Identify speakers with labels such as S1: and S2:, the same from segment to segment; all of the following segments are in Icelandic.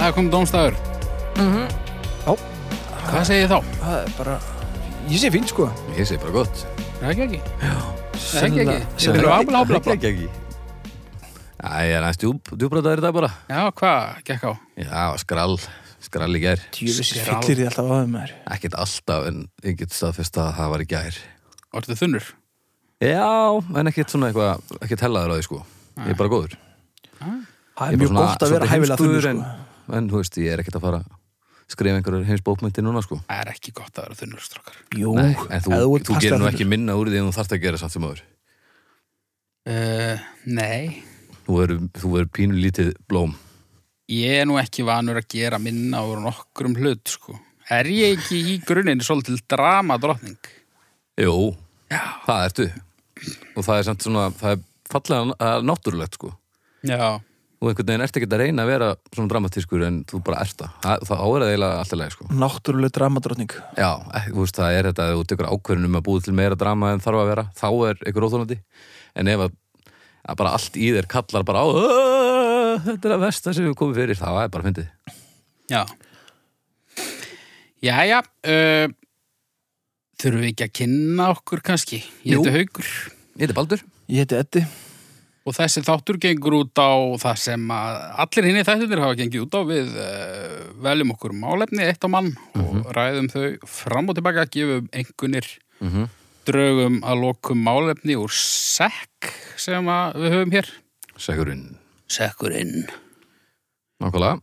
S1: það kom dómstafur
S2: Já.
S1: Hvað segi ég þá?
S2: Það er bara, ég sé fínt sko.
S3: Ég segi bara gott
S1: Það er ekki ekki Það er ekki
S2: Sennilega-
S1: ekki Það er
S2: sennilega-
S1: abla, abla, abla
S3: ekki ekki Já, ég er aðeins djúp, djúbröðaður í dag bara
S1: Já, hvað gekk á?
S3: Já, skrall, skrall í gær
S2: Djöfisir
S1: Skrál.
S2: fyllir því alltaf á þeim maður.
S3: Ekkert alltaf en ég get staðfest að það var í gær
S1: Orðið þunnur?
S3: Já, en ekkert svona eitthvað, ekkert hellaður á því sko Ég er bara góður
S2: Það er
S3: Ég bara
S2: mjög
S3: svona
S2: gott að vera
S3: svolítið
S2: hæfilega
S3: heimskuður,
S2: þunni sko.
S3: en, en þú veist, ég er ekkert að fara að skrifa einhverjar heimsbókmyndir núna sko
S1: Það er ekki gott að vera þunnur, strókar
S2: Jú,
S3: Nei, en þú,
S2: ef
S3: þú,
S2: ert
S3: gerir nú
S2: passlega
S3: ekki minna úr því en þú þarft að gera samt sem öður
S1: uh, Nei
S3: Þú verður- þú verður pínu lítið blóm
S1: Ég er nú ekki vanur að gera minna úr nokkrum hlut, sko Er ég ekki í grunninn svolítil dramadrottning?
S3: Jú,
S1: Já
S3: það ertu Og það er samt svona, það er fallega það er náttúrulegt sko
S1: Já,
S3: Þú einhvern veginn ert ekkert að reyna að vera svona dramatískur en þú bara ert það Það, það áverða eiginlega alltaf leið sko
S2: Náttúruleg dramadrottning.
S3: Já, eh, þú veist, það er þetta að þú tekur ákverðin um að búið til meira drama en þarf að vera þá er ykkur óþólandi en ef að, að bara allt í þér kallar bara á "Aah, þetta er að versta sem við komum fyrir þá er bara fyndið
S1: já Jæja uh, Þurfum við ekki að kynna okkur kannski? Ég
S3: Jú.
S1: heiti Haukur
S3: Ég heiti Baldur
S2: Ég heiti Eddi.
S1: Og þessi þáttur gengur út á það sem að allir hinn í þættunir hafa gengið út á við uh, veljum okkur málefni eitt á mann og ræðum þau fram og tilbaka, gefum einhvernir
S3: mm
S1: draugum að lokum málefni úr sekk sem að við höfum hér.
S3: Sækurinn
S1: Sekkurinn.
S3: Nákvæmlega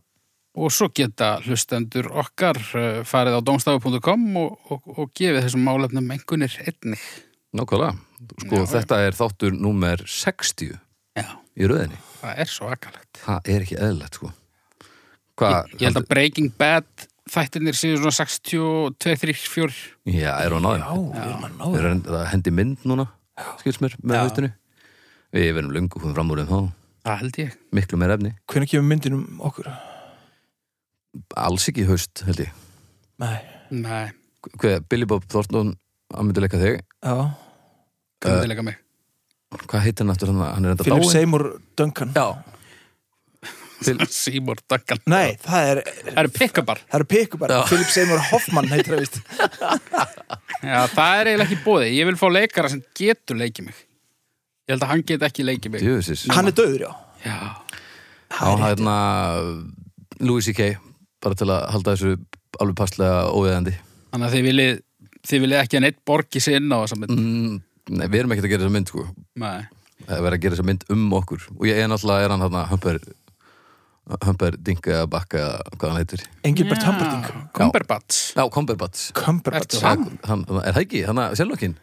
S1: Og svo geta hlustendur okkar eh, farið á domstafu.com og, og, og gefið þessum málefnum einhvernir einnig.
S3: Nákvæmlega Sko,
S1: Já, já.
S3: þetta er þáttur númer 60
S1: Já,
S3: í röðinni
S1: það er svo akkalegt.
S3: Það er ekki eðlilegt sko Hvað?
S1: Ég, ég held að Breaking Bad þættinir séu svona 62, 3, 4
S3: Já, er hún náðum
S2: Já, við erum að ná
S3: Við
S2: þér.
S3: erum að hendi mynd núna skils mér
S1: Já.
S3: með haustinu Við verðum löngu hún fram úr en þá
S1: Það held ég.
S3: miklu meir efni
S2: Hvernig kemur myndin um okkur?
S3: alls ekki í haust, held ég
S2: Nei,
S1: Nei,
S3: Eh, Hver, Billy Bob Thornton, hann myndi leika þig
S2: já.
S1: kannum uh, mig.
S3: hvað heitir hann aftur hann, hann er enda
S2: Philip
S3: dáin
S2: Seymour Duncan.
S3: já,
S1: Seymour Duncan.
S2: Nei, það er,
S1: Það eru pikkabar.
S2: það er pikku bara.
S3: Já.
S2: Philip Seymour Hoffman heitir það vist.
S1: Já, það er eiginlega ekki bóðið. Ég vil fá leikara sem getur leikið mig. Ég held að hann get ekki leikið mig.
S3: djöfusis
S2: Hann er döður, já.
S1: Já.
S3: á hérna Louis C.K. bara til að halda þessu alveg passlega óeðandi
S1: Þannig að þið viljið, þið viljið ekki að neitt borgi sér inn á þess að mynd.
S3: mm, nei, við erum ekkert að gera þessa mynd sko
S1: Nei.
S3: það er verið að gera þessa mynd um okkur og ég er náttúrulega, er hann hérna hömper hömper dinka eða bakka eða hvað hann heitir
S2: Engilbert Humperdinck.
S1: Kumberbatch.
S3: já, Comberbatch
S2: Cumberbatch.
S1: Ertu
S3: hann, hann, er það ekki, hann er sjálfnokkin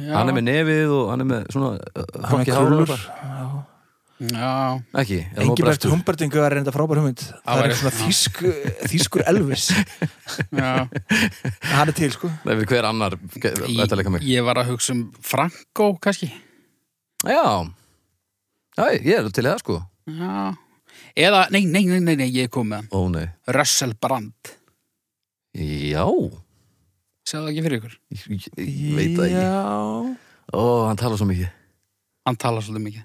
S1: Já.
S3: hann er með nefið og hann er með svona uh,
S2: Hann
S3: hrokkið
S2: er
S3: hár og
S2: krúlur.
S3: eitthvað.
S1: Já.
S3: Ekki, er hann of
S2: Engilbert
S3: brestur?
S2: Humperdinck er reynda frábær hugmynd. Það
S1: væri-
S2: er svona þýsk, þýskur Elvis.
S1: Já.
S2: Hann er til, sko.
S3: Nei, við hver annar Þetta leika mig
S1: Ég, ég var að hugsa um Franco, kannski.
S3: Já, já ég er til í það sko
S1: Já. Eða, nei, nei, nei, nei, nei, ég kom með hann.
S3: Ó nei,
S1: Russell Brand.
S3: já
S1: Segðu það ekki fyrir ykkur.
S3: Ég, ég, ég veit það ekki
S2: Já.
S3: Ó, hann talar svo mikið
S1: Hann talar svolítið mikið.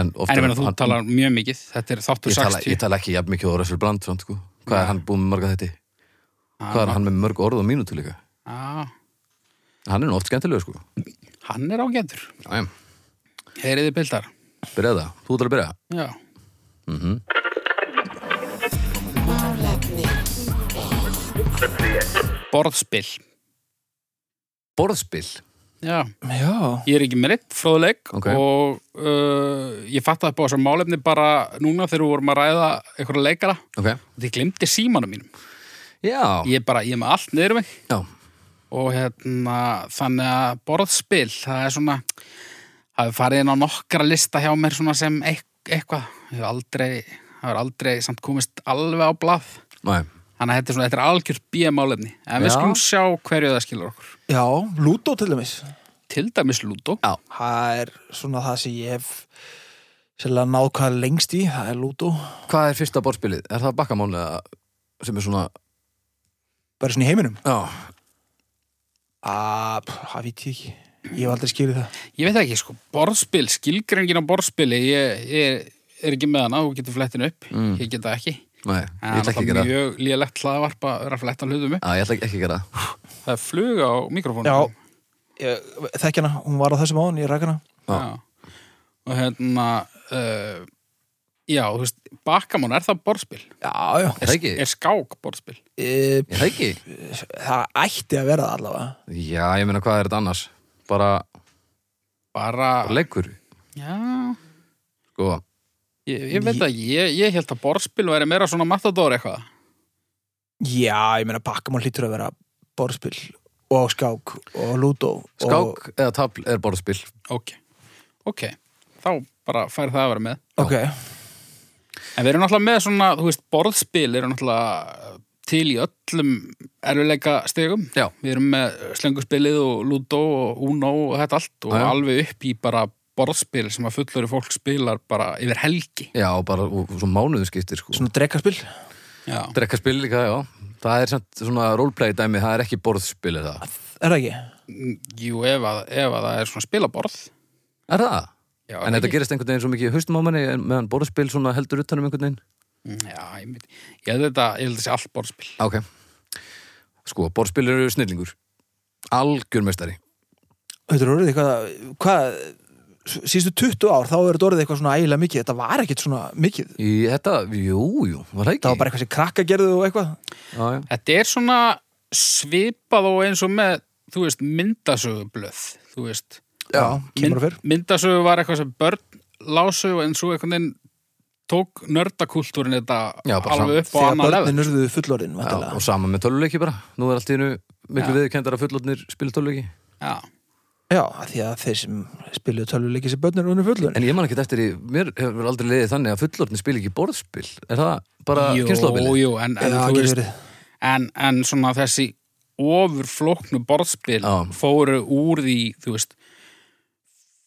S3: En, oftar,
S1: En ég meina, þú
S3: hann,
S1: talar mjög mikið. Þetta er þáttur
S3: ég tala,
S1: 60.
S3: ég tala ekki jafn mikið á Russell Brand svona, sko. Hvað er hann búið með marga þetta? Hvað er hann með mörg orð og mínútu líka?
S1: Já,
S3: Hann er nú oft skemmtilega sko
S1: Ah, hann er ágættur.
S3: Já, já,
S1: Heyriði bildar.
S3: byrjaði það, þú ert að byrja Mhm.
S1: Já. Borðspill.
S3: Borðspill,
S1: Já,
S2: Já.
S1: ég er ekki með neitt fróðleik
S3: Ok.
S1: og uh, ég fattaði upp á þessum málefni bara núna þegar við vorum að ræða einhverja leikara.
S3: ok
S1: Þið glimti símanum mínum.
S3: Já,
S1: Ég er bara, ég er með allt niður um mig
S3: já,
S1: og hérna, þannig að borðspill, það er svona hafi farið inn á nokkra lista hjá mér svona sem eit- eitthvað hefur aldrei, hefur aldrei samt komist alveg á blað
S3: næ
S1: þannig að þetta er svona, þetta er algjört bíamálefni en við
S3: Já.
S1: skulum sjá hverju það skilur okkur
S2: Já, Ludo til dæmis.
S1: til dæmis Ludo
S3: Já.
S2: Það er svona það sem ég hef sérlega náð hvað lengst í, það er Ludo.
S3: Hvað er fyrsta borðspilið? Er það bakkamón eða sem er svona
S2: Bara svona í heiminum.
S3: Já,
S2: Að, það veit ég ekki. Ég hef aldrei skilið það.
S1: ég veit ekki, sko, borðspil, skilgreiningin á borðspili ég, ég er ekki með hana, þú getur flettin upp ég geta ekki
S3: Nei, Mm. ég
S1: En
S3: ætla
S1: það
S3: ekki að
S1: er
S3: gera
S1: náttúrulega mjög lélegt hlaðvarp að vera að fletta hlutum upp.
S3: Já, ég ætla ekki að gera það.
S1: Það er flug á mikrofónum.
S2: Já, ég, þekk hana, hún var á þessum áðan, ég ræk hana
S3: Já.
S1: Já. Og hérna, uh, já, þú veist, bakamón, er það borðspil?
S2: Já, já,
S3: Er það ekki?
S1: Er skák borðspil?
S2: e,
S3: Er það ekki?
S2: það ætti að vera það allavega
S3: Já, ég meina hvað er þetta annars? Bara,
S1: Bara,
S3: bara leikur
S1: já,
S3: sko.
S1: ég, ég veit að ég, ég held að borðspil væri meira svona matador eitthvað.
S2: Já, ég meina Bakkamon hlýtur að vera borðspil og skák og lúdó og,
S3: Skák eða tabl er borðspil
S1: Ok, ok, þá bara fær það að vera með.
S2: Ok,
S1: En við erum náttúrulega með svona, þú veist, borðspil eru náttúrulega til í öllum erfileika stegum.
S3: Já.
S1: Við erum með slönguspilið og Ludo og Uno og þetta allt og
S3: Já, já.
S1: alveg upp í bara borðspil sem að fullori fólk spilar bara yfir helgi.
S3: Já, bara og, og svo mánuðu skiptir sko.
S2: svona drekkarspil
S1: Já.
S3: Drekkarspil líka, já Það er samt svona roleplay dæmi, það er ekki borðspil er það
S2: Er það ekki?
S1: Jú, ef að, ef að það er svona spilaborð.
S3: Er það?
S1: Já,
S3: En þetta
S1: ekki-
S3: gerist einhvern veginn svo mikið í haustum á manni en meðan borðspil svona heldur utanum einhvern veginn Mm.
S1: Já, ég veit, ég held þetta, ég held þessi allt borðspil.
S3: Ok Sko, borðspil eru snillingur Algjörmestari
S2: Þetta er orðið eitthvað Hvað, síðustu 20 ár þá er þetta orðið eitthvað svona ægilega mikið Þetta var ekkert svona mikið
S3: Í þetta, jú, jú, var það ekki?
S2: Það var bara eitthvað sem krakka gerðu og eitthvað
S3: Já, já,
S1: Þetta er svona svipað og eins og með, þú veist, myndasögublöð, þú veist.
S2: Já, kemur fyrr
S1: myndasögu var eitthvað sem börn lásu en svo einhvern veginn tók nördakultúrin þetta
S3: Já, bara
S1: alveg upp á
S2: Þegar
S1: annan level
S2: börnin urðu fullorðin
S3: já
S2: væntanlega.
S3: Og sama með töluleiki bara Nú er allt í einu miklu
S1: Já.
S3: viðurkenndara að fullotnir spila töluleiki
S1: já,
S2: Já, af því að þeir sem spiluðu tölvuleiki sem börnin urðu fullorðin
S3: En ég man ekki eftir í, mér hefur aldrei liðið þannig að fullorðni spil ekki borðspil Er það bara
S1: jú,
S3: kynslóðbili?
S1: jú en, en,
S2: Já,
S1: þú
S2: getur
S1: veist,
S2: verið.
S1: en, en svona þessi ofurflóknu borðspil
S3: Já.
S1: fóru úr því þú veist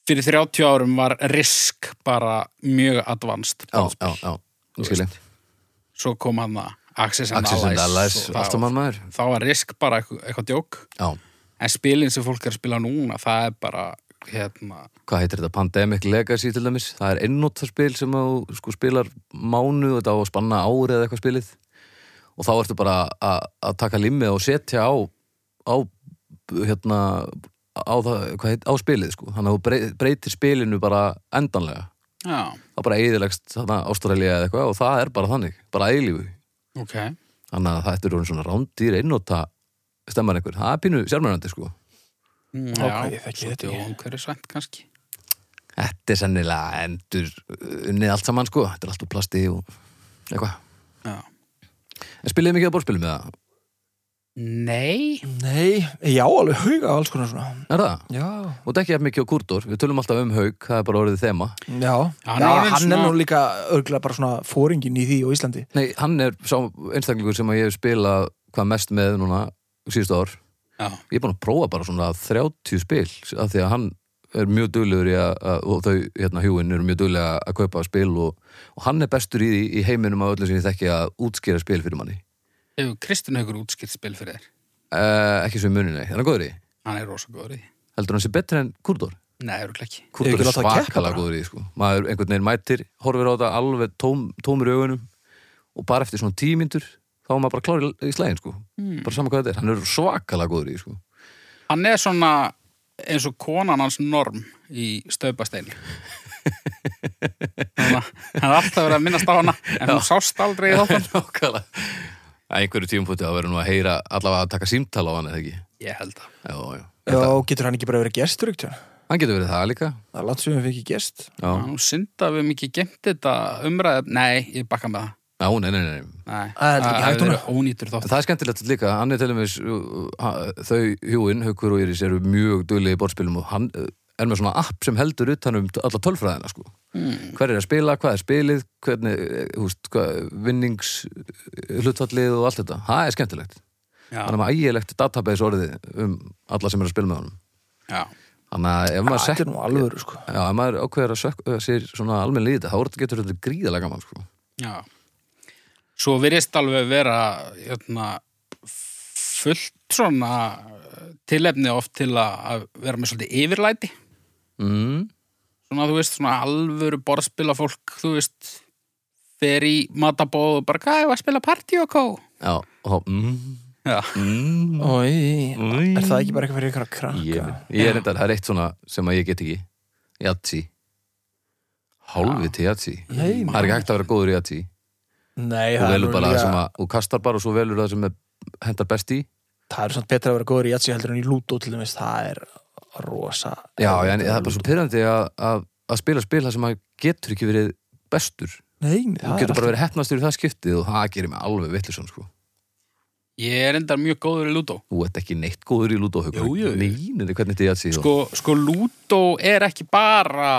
S1: fyrir 30 árum var risk bara mjög advanced
S3: Já,
S1: borðspil,
S3: já, já, nú skil ég
S1: svo kom hann að Access and
S3: Axis and Allies, um
S1: og
S3: alltaf
S1: það,
S3: mann maður
S1: þá var risk bara eitthvað, eitthvað djók
S3: Já,
S1: en spilin sem fólk er að spila núna það er bara hérna
S3: hvað heitir þetta? Pandemic Legacy til dæmis Það er einnóttaspil sem þú sko, spilar mánu og þetta á að spanna ári eða eitthvað spilið og þá ertu bara að að taka limmið og setja á á hérna á, það, hvað heit, á spilið sko þannig að þú brey- breytir spilinu bara endanlega
S1: já,
S3: það bara eðilegst Ástralja eða eitthvað og það er bara þannig, bara eilífu
S1: ok
S3: þannig að þetta er orðin svona rándýr einnóta stemmar einhver, það er pínu sérmjörnandi sko
S1: Mm,
S2: Ok,
S1: Já,
S2: ég þekki þetta
S1: svolítið
S2: ekki.
S1: óumhverfisvænt kannski.
S3: Þetta er sennilega endur uh, unnið allt saman sko, þetta er allt úr plasti og eitthvað.
S1: Já.
S3: En spiliði mikið að borðspilum með það?
S1: Nei,
S2: Nei, já, alveg hauga alls konar svona
S3: Er það?
S2: Já,
S3: Og þetta ekki eftir mikið á Kúrdór, við tölum alltaf um haug, það er bara orðið þema.
S2: já,
S1: Hann er orðinn
S2: hann er
S1: svona-
S2: nú líka örgulega bara svona fóringin í því á Íslandi
S3: Nei, hann er sá einstaklingur sem að ég hef spilað hvað mest með núna síðustu ár.
S1: já,
S3: Ég er búin að prófa bara svona 30 spil af því að hann er mjög duglegur í að, að og þau, hérna, hjúin eru mjög duglega að kaupa spil og, og hann er bestur í, því í heiminum af öllu sem ég þekki að útskýra spil fyrir manni.
S1: hefur Kristinn hefur útskilt spil fyrir þér.
S3: Uh, ekki sem muninni, er hann góður í?
S1: Hann er rosa góður í. því.
S3: Heldur hann sé betri en Kúrdór?
S1: Nei, eru ekki.
S2: Ég
S3: Kúrtur
S2: ekki
S3: er
S2: láta að keppa
S3: svakalega
S2: bara.
S3: góður í því, sko. maður einhvern veginn mætir horfir á þetta alveg tóm, tómur í augunum og bara eftir svona tímyndur þá er maður bara klár í- í slægin sko. bara saman hvað þetta er, hann er svakalega góður í því, sko.
S1: Hann er svona eins og konan hans norm í stöðbasteinu. Þannig að hann er alltaf verið að minnast á hana en hún sást aldrei í þáttan.
S3: Nákvæmlega að einhverju tímpúti að vera nú að heyra allavega að taka símtal á hann eða ekki
S1: Ég held að.
S3: já, já.
S2: Já, getur hann ekki bara verið gestur ekkert?
S3: hann getur verið það líka
S2: Það er langt sem við fikk í gest
S3: já,
S1: Nú synda við mikið gemt þetta umræðið. Nei, ég bakka með það.
S3: já nei, nei, nei, nei.
S1: Nei,
S2: Það er ekki hægt
S1: hefði
S2: núna.
S1: verið ónýtur
S3: En
S1: þáttan.
S3: Það er skemmtilegt líka, hann er til dæmis uh, ha- þau hjúin, Haukur og Íris eru mjög duglegi í borðspilum og hann uh, er með svona app sem heldur utan um t- alla tölfræðina sko. mm. hver er að spila, hvað er spilið hvernig, eh, húst, hvað, vinnings eh, hlutfallið og allt þetta það er skemmtilegt, hann er
S1: Já,
S3: með ægilegt database orðið um alla sem er að spila með honum
S1: já.
S3: þannig að ef maður,
S2: Þetta
S3: sek,
S2: er nú alvöru sko
S3: já, ef maður ákveður að sökk, sér svona almenn líði þetta, þá er- getur þetta gríðalega gaman sko.
S1: Já. Svo virðist alveg vera jötna, fullt svona eh, tilefni oft til að að vera með svolítið yfirlæti.
S3: mm.
S1: Svona, þú veist, svona alvöru borðspila fólk, þú veist, fer í matabóð og bara, hvað, ég var að spila party og kó
S3: Já, og þá mm,
S1: Já,
S3: mm,
S2: Oi,
S3: Oi.
S2: er það ekki bara eitthvað fyrir ykkur að krakka?
S3: ég, ég er þetta, það er eitt svona sem að ég get ekki Jatsi Hálfviti jatsi Það
S2: Nei,
S3: er ekki hægt að vera góður í jatsi
S2: Nei,
S3: Þú
S2: það er
S3: velur bara
S2: líka-
S3: það sem að, þú kastar bara og svo velur það sem er, hendar best í
S2: það er samt betra að vera góður í jatsi heldur en í lútó til dæmis, það er rosa
S3: Já, en það er bara svo pyrrandi að, að, að spila spil það sem að getur ekki verið bestur
S2: Nei, nei,
S3: Þú
S2: það er
S3: getur bara verið hettnastur í það skiptið og það gerir mig alveg vittlisum sko
S1: ég er endar mjög góður í Ludo
S3: Þú ert ekki neitt góður í lúdó
S1: Jú, jú, jú.
S3: Nei, nei, nei, hvernig þetta er jatsi
S1: sko, sko Ludo er ekki bara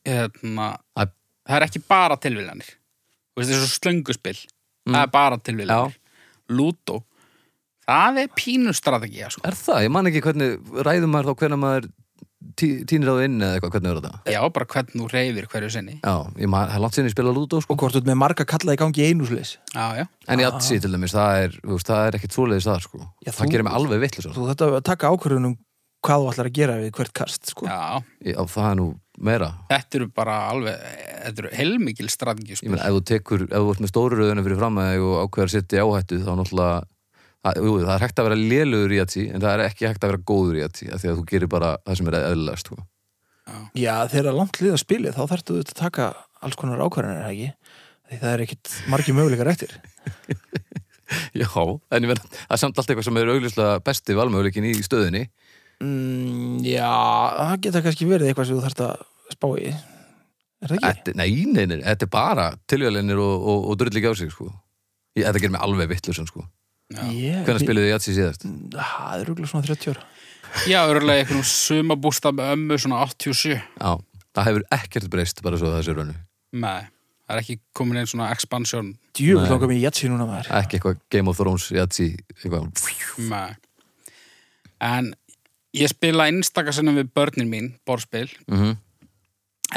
S1: hérna,
S3: Að-
S1: það er ekki bara tilviljanir þú veist þessu slönguspil það er bara tilviljanir Ludo, það er pínustrategi sko.
S3: Er það? Ég man ekki hvernig ræðum maður þá hvernig maður tí, týnir á það inn eða eitthvað, hvernig er þetta?
S1: já, bara hvernig þú reyfir hverju sinni
S3: Já, ég man, það er langt sinni ég spila lúdó sko
S2: og hvort þú ert með marga kalla í gangi í einu slis
S1: já, já,
S3: En jatsi til dæmis, það er, þú veist, það er ekkit svoleiðis það sko
S2: Já, þú-
S3: Það gerir mig alveg sko. vittlisum
S2: þú þetta að taka ákvörðunum hvað þú ætlar að gera við hvert kast sko.
S1: já
S3: Já, það er nú meira
S1: þetta eru bara alveg, þetta eru heilmikil sko. strategi
S3: Ég meina, ef þú tekur, ef þú ert með stóru röðuna fyrir fram að þig og ákveðar sitt í áhættu þá náttúrulega Það, jú, það er hægt að vera lélugur í jatsi en það er ekki hægt að vera góður í jatsi af því að þú gerir bara það sem er eðlilegast sko.
S2: já, þegar langt liða spilið þá þarftu þetta að taka alls konar ákvörðunir er það ekki því það er ekkit margi möguleikar eftir
S3: Já, en ég meina, það er samt allt eitthvað sem er augljóslega besti valmöguleikin í stöðunni
S2: mm, já, það geta kannski verið eitthvað sem þú þarft að spá í er það ekki?
S3: Þetta, nei, nei, nei, þetta er bara tilvælinir og, og, og drull ekki á sig, sko. Ég, þetta gerir mig alveg vittlusun, sko.
S2: Ég-
S3: Hvernig spiluðu þið Jatsi síðast?
S2: það er rúglega svona 30 ára
S1: já, örgulega einhvern sumabústa með ömmu svona 87
S3: Já, það hefur ekkert breyst bara svo þessu raunu.
S1: með, það er ekki komin einn svona expansion
S2: djúvill langar mér í jatsi núna maður
S3: Ekki eitthvað Game of Thrones Jatsi, eitthvað.
S1: Nei. En ég spila einstaka sinnum við börnin mín, borðspil,
S3: Mm -hmm.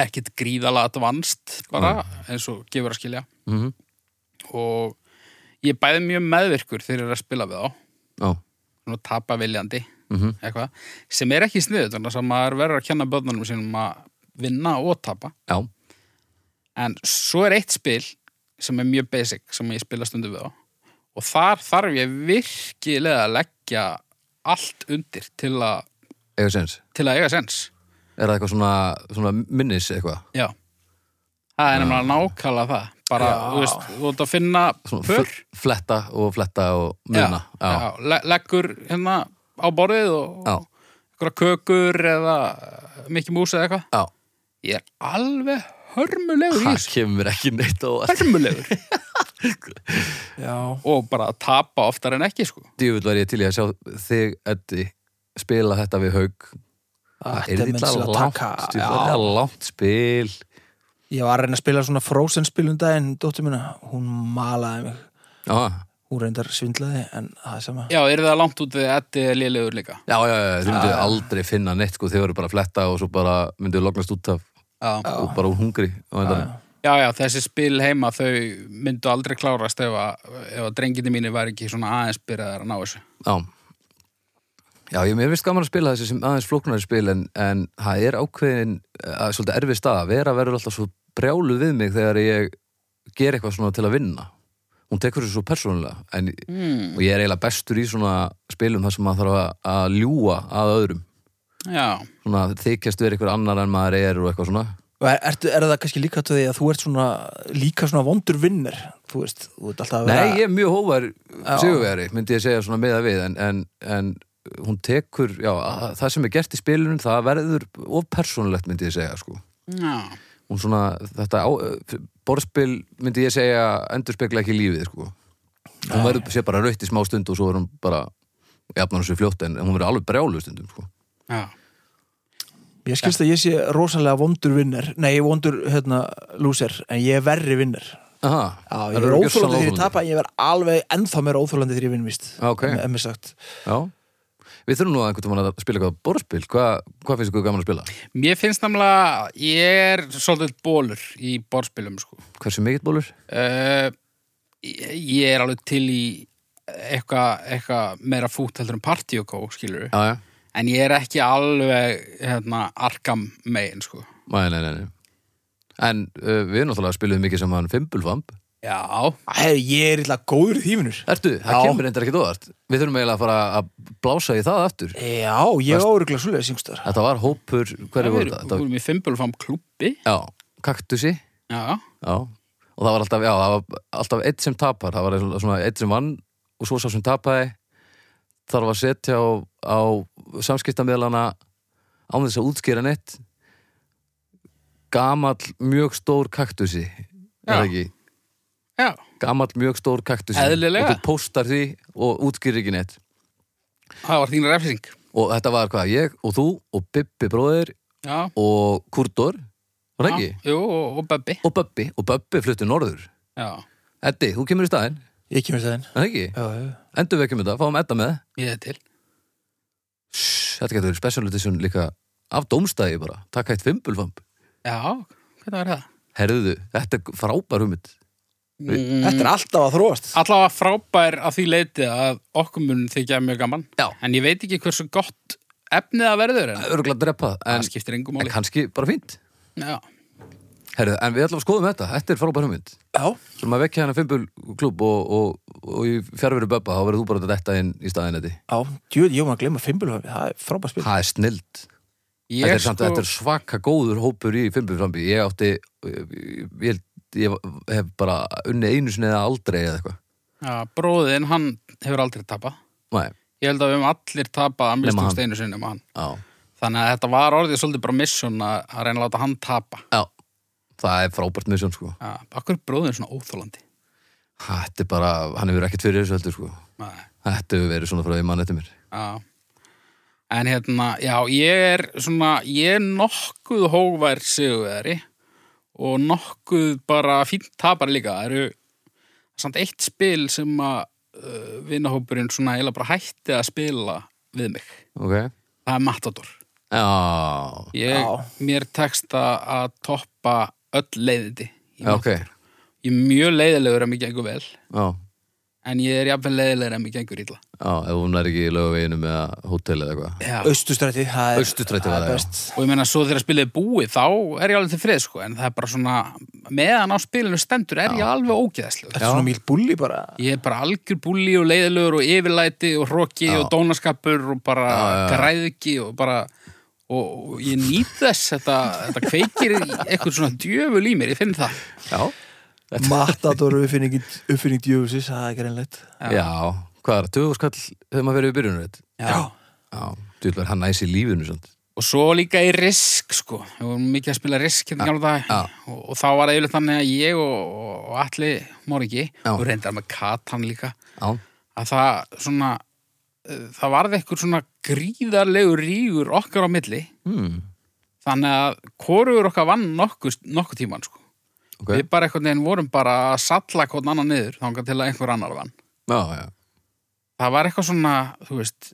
S1: ekkit gríðala advanced bara, eins og gefur að skilja.
S3: Mm -hmm.
S1: Og ég er bæði mjög meðvirkur þegar ég er að spila við þá,
S3: Já,
S1: svona tapa viljandi,
S3: mm
S1: eitthvað, sem er ekki sniðut, þannig að maður verður að kenna börnunum sínum að vinna og tapa.
S3: já,
S1: En svo er eitt spil sem er mjög basic, sem ég spila stundum við á. Og þar þarf ég virkilega að leggja allt undir til að,
S3: eitthvað sens.
S1: til að eiga sens.
S3: Er það eitthvað svona, svona minnis eitthvað?
S1: Já Það er nefnilega nákvæmlega það bara,
S2: Já.
S1: þú veist, þú ert að finna
S3: Svona
S1: pör
S3: fl- fletta og fletta og munna. Já, já.
S1: le leggur hérna á borðið og
S3: Já.
S1: einhverja kökur eða mikið mús eða eitthvað Ég er alveg hörmulegur í
S3: Það
S1: þessu
S3: kemur ekki neitt á
S1: hörmulegur
S2: já,
S1: og bara að tapa oftar en ekki sko
S3: djúvill var ég til í að sjá þig, Eddi, spila þetta við haug Það er
S2: þetta er menn
S3: illa
S2: til að
S3: langt,
S2: taka
S3: þú,
S2: já.
S3: það er langt spil
S2: Ég var að reyna að spila svona Frozen spil um daginn, dóttir minna, hún malaði mig,
S3: Já,
S2: hún reyndar svindlaði, en það er sama.
S1: Já, er það langt út við Eddi er lélegur líka
S3: já, já, já þið mynduðu aldrei finna neitt sko, þið voru bara að fletta og svo bara mynduðu lognast út af
S1: Já,
S3: og bara úr hungri á endanum.
S1: já, já þessi spil heima þau myndu aldrei klárast ef að, ef að drenginni mínir var ekki svona aðeins byrjaðar að ná þessu
S3: Já, já ég mér finnst gaman að spila þessi sem aðeins flóknari spil en, en það er ákveðin að, svolítið erfið stað, vera verður alltaf svo brjálu við mig þegar ég ger eitthvað svona til að vinna hún tekur þessu svo persónulega en,
S1: Hmm.
S3: og ég er eiginlega bestur í svona spilum þar sem maður þarf að, að ljúga að öðrum
S1: Já,
S3: svona þykjast verið einhver annar en maður er og eitthvað svona
S2: Og er, er, er það kannski líka til því að þú ert svona, líka svona vondur vinnir, þú veist, þú ert alltaf að vera...
S3: Nei, ég er mjög hóvar sigurveri myndi ég segja svona meða við en, en, en hún tekur, já, að- það sem er gert í spilunum það verður of persónulegt myndi ég segja sko.
S1: já
S3: hún svona, þetta á, borðspil myndi ég segja endurspegla ekki lífið sko. hún verður sé bara raut í smá stund og svo er hún bara jafnar þessu fljótt en hún verður alveg brjálu stundum sko.
S1: Já,
S2: Ég skilst að ég sé rosalega vondur vinnir, nei, vondur, hérna, lúser, en ég er verri vinnir.
S3: Aha,
S2: Já, ég er
S3: það eru
S2: óþólandi þegar
S3: gjörsamlega
S2: ég tapa, en ég verð alveg ennþá meira óþólandi þegar ég vinn, víst.
S3: Ok.
S2: Em- emmi sagt.
S3: já. Við þurfum nú að einhvern veginn að spila eitthvað borðspil, hvað, hvað finnst ykkur gaman að spila?
S1: Mér finnst namlega, ég er svolítið bólur í borðspilum, sko.
S3: Hversu mikill bólur?
S1: Uh, ég er alveg til í eitthvað eitthva meira fút heldur en partíokó, skilur við.
S3: Já, já.
S1: En ég er ekki alveg, hérna, arkam megin, sko.
S3: Nei, nei, nei, nei. En uh, við náttúrulega spilum mikið saman Fimbulvamp.
S1: Já,
S2: Æ, ég er illa góður í því vinur
S3: Ertu, það
S2: Já.
S3: kemur reyndar ekkert óvart. Við þurfum eiginlega að fara að blása í það aftur.
S2: Já, ég er áruglega svoleiðis yngstur
S3: Þetta var hópur, hverju
S1: við
S3: voru þetta? þetta?
S1: erum í Fimbulfam klubbi.
S3: var- Já, kaktusi.
S1: Já,
S3: Já, og það var alltaf, já, það var alltaf eitt sem tapar, það var svona- svona eitt sem vann og svo sá sem tapaði þarf að setja á, á samskiptamilana án þess að útskýra neitt gamall mjög stór kaktusi er það
S1: Já.
S3: ekki?
S1: já,
S3: Gamall mjög stór kaktusi
S1: Eðlilega.
S3: og þú póstar því og útskýrir ekki neitt
S1: það var þín refsing.
S3: og þetta var hvað, ég og þú og Bibbi bróðir
S1: Já,
S3: og Kurtor var það
S1: já,
S3: ekki?
S1: jú, og, og Böbbi.
S3: Og Böbbi, og Böbbi fluttu norður
S1: Já,
S3: Eddi, þú kemur í staðinn,
S2: Ég kemur það inn
S3: er það ekki?
S2: Já, já
S3: endur við ekki með þetta, fáum Edda með
S1: ég er til.
S3: Shhh, þetta getur verið special edition líka af dómstæði bara, taka eitt fimbulfamp
S1: Já, hvernig var það?
S3: herðu, þetta er frábær hugmynd
S2: Þetta er alltaf að þróast
S1: Allavega frábær að því leiti að okkur mun þykja mjög gaman.
S3: Já.
S1: En ég veit ekki hversu gott efnið að verður en
S3: örgulega drepa það,
S1: það
S3: en,
S1: skiptir engum
S3: en
S1: máli.
S3: kannski bara fínt
S1: Já,
S3: herðu, en við ætlum að skoðum þetta, þetta er frábær hugmynd
S2: Já,
S3: svo maður vekja hennar fimbulklub og, og, og í fjárveru böbba, þá verður þú bara að detta inn í staðinn þetta,
S2: já, djúð, ég var að glemma fimbulhafi Það er frábæð spil
S3: það er snild
S1: ég sko-
S3: þetta er, samt, þetta er svaka góður hópur í fimbulfampi, ég átti ég, ég, ég hef bara unni einu sinni eða aldrei eða eitthvað
S1: Já, bróðin, hann hefur aldrei tapað.
S3: Nei,
S1: Ég held að við höfum allir tapað að
S3: Nema
S1: mistumst
S3: hann.
S1: einu sinni um hann.
S3: já
S1: Þannig að þetta var orðið svolítið bara missun að, að reyna að láta hann tapa.
S3: Já, það er frábært misjón sko
S1: Já, akkur er bróðin svona óþólandi.
S3: Þetta er bara, hann hefur ekkert fyrir þessu heldur sko
S1: Nei.
S3: Þetta hefur verið svona frá því mann eftir mér
S1: Já. En hérna, já, ég er svona, ég er nokkuð hóvær sigurveri og nokkuð bara fínt tapar líka. Það eru samt eitt spil sem að uh, vinahópurinn svona eiginlega bara hætti að spila við mig.
S3: Ok
S1: Það er Matador.
S3: Já,
S1: Ég,
S2: Já.
S1: mér tekst að, að toppa öll leiðindi. í
S3: já ok
S1: Matador. Ég er mjög leiðilegur að mér gengur vel,
S3: Já,
S1: en ég er jafnvel leiðilegur að mér gengur illa.
S3: já, ef hún er ekki í lögaveginum eða hótel eða eitthvað
S1: Já.
S2: Austustræti, það er
S3: Austurstræti
S2: það
S3: var
S2: er
S3: það, já.
S2: best
S1: og ég meina svo þegar spilið er búið þá er ég alveg til frið sko en það er bara svona meðan á spilinu stendur er ég alveg ógeðslegur
S2: Þetta er svona mýl bulli bara
S1: ég er bara algjör búli og leiðilegur og yfirlæti og hroki og dónaskapur og bara græðki og bara og, og ég nýt þess þetta, þetta kveikir í eitthvað svona djöful í mér ég finn það
S3: Já,
S2: Matador uppfinning, uppfinning djöfusis, það er greinleitt
S3: já, Hvað er það, töfuskall þegar maður verið í byrjunum veit
S1: Já.
S3: Já, þú vil vera hann næs í lífinu svona
S1: og svo líka í risk sko við vorum mikið að spila risk hérna gamla dag
S3: Já.
S1: og, og þá var það yfirleitt þannig að ég og, og Atli Móringi
S3: Já.
S1: og reyndar með Katan líka
S3: Já,
S1: að það svona uh, það varði eitthvað svona gríðarlegu rígur okkar á milli
S3: hmm,
S1: þannig að hvorugur okkar vann nokkuð, nokkuð tíman sko.
S3: ok
S1: við bara einhvern veginn vorum bara að salla hvort annan niður þangað til að einhver annar vann
S3: Já, já,
S1: það var eitthvað svona, þú veist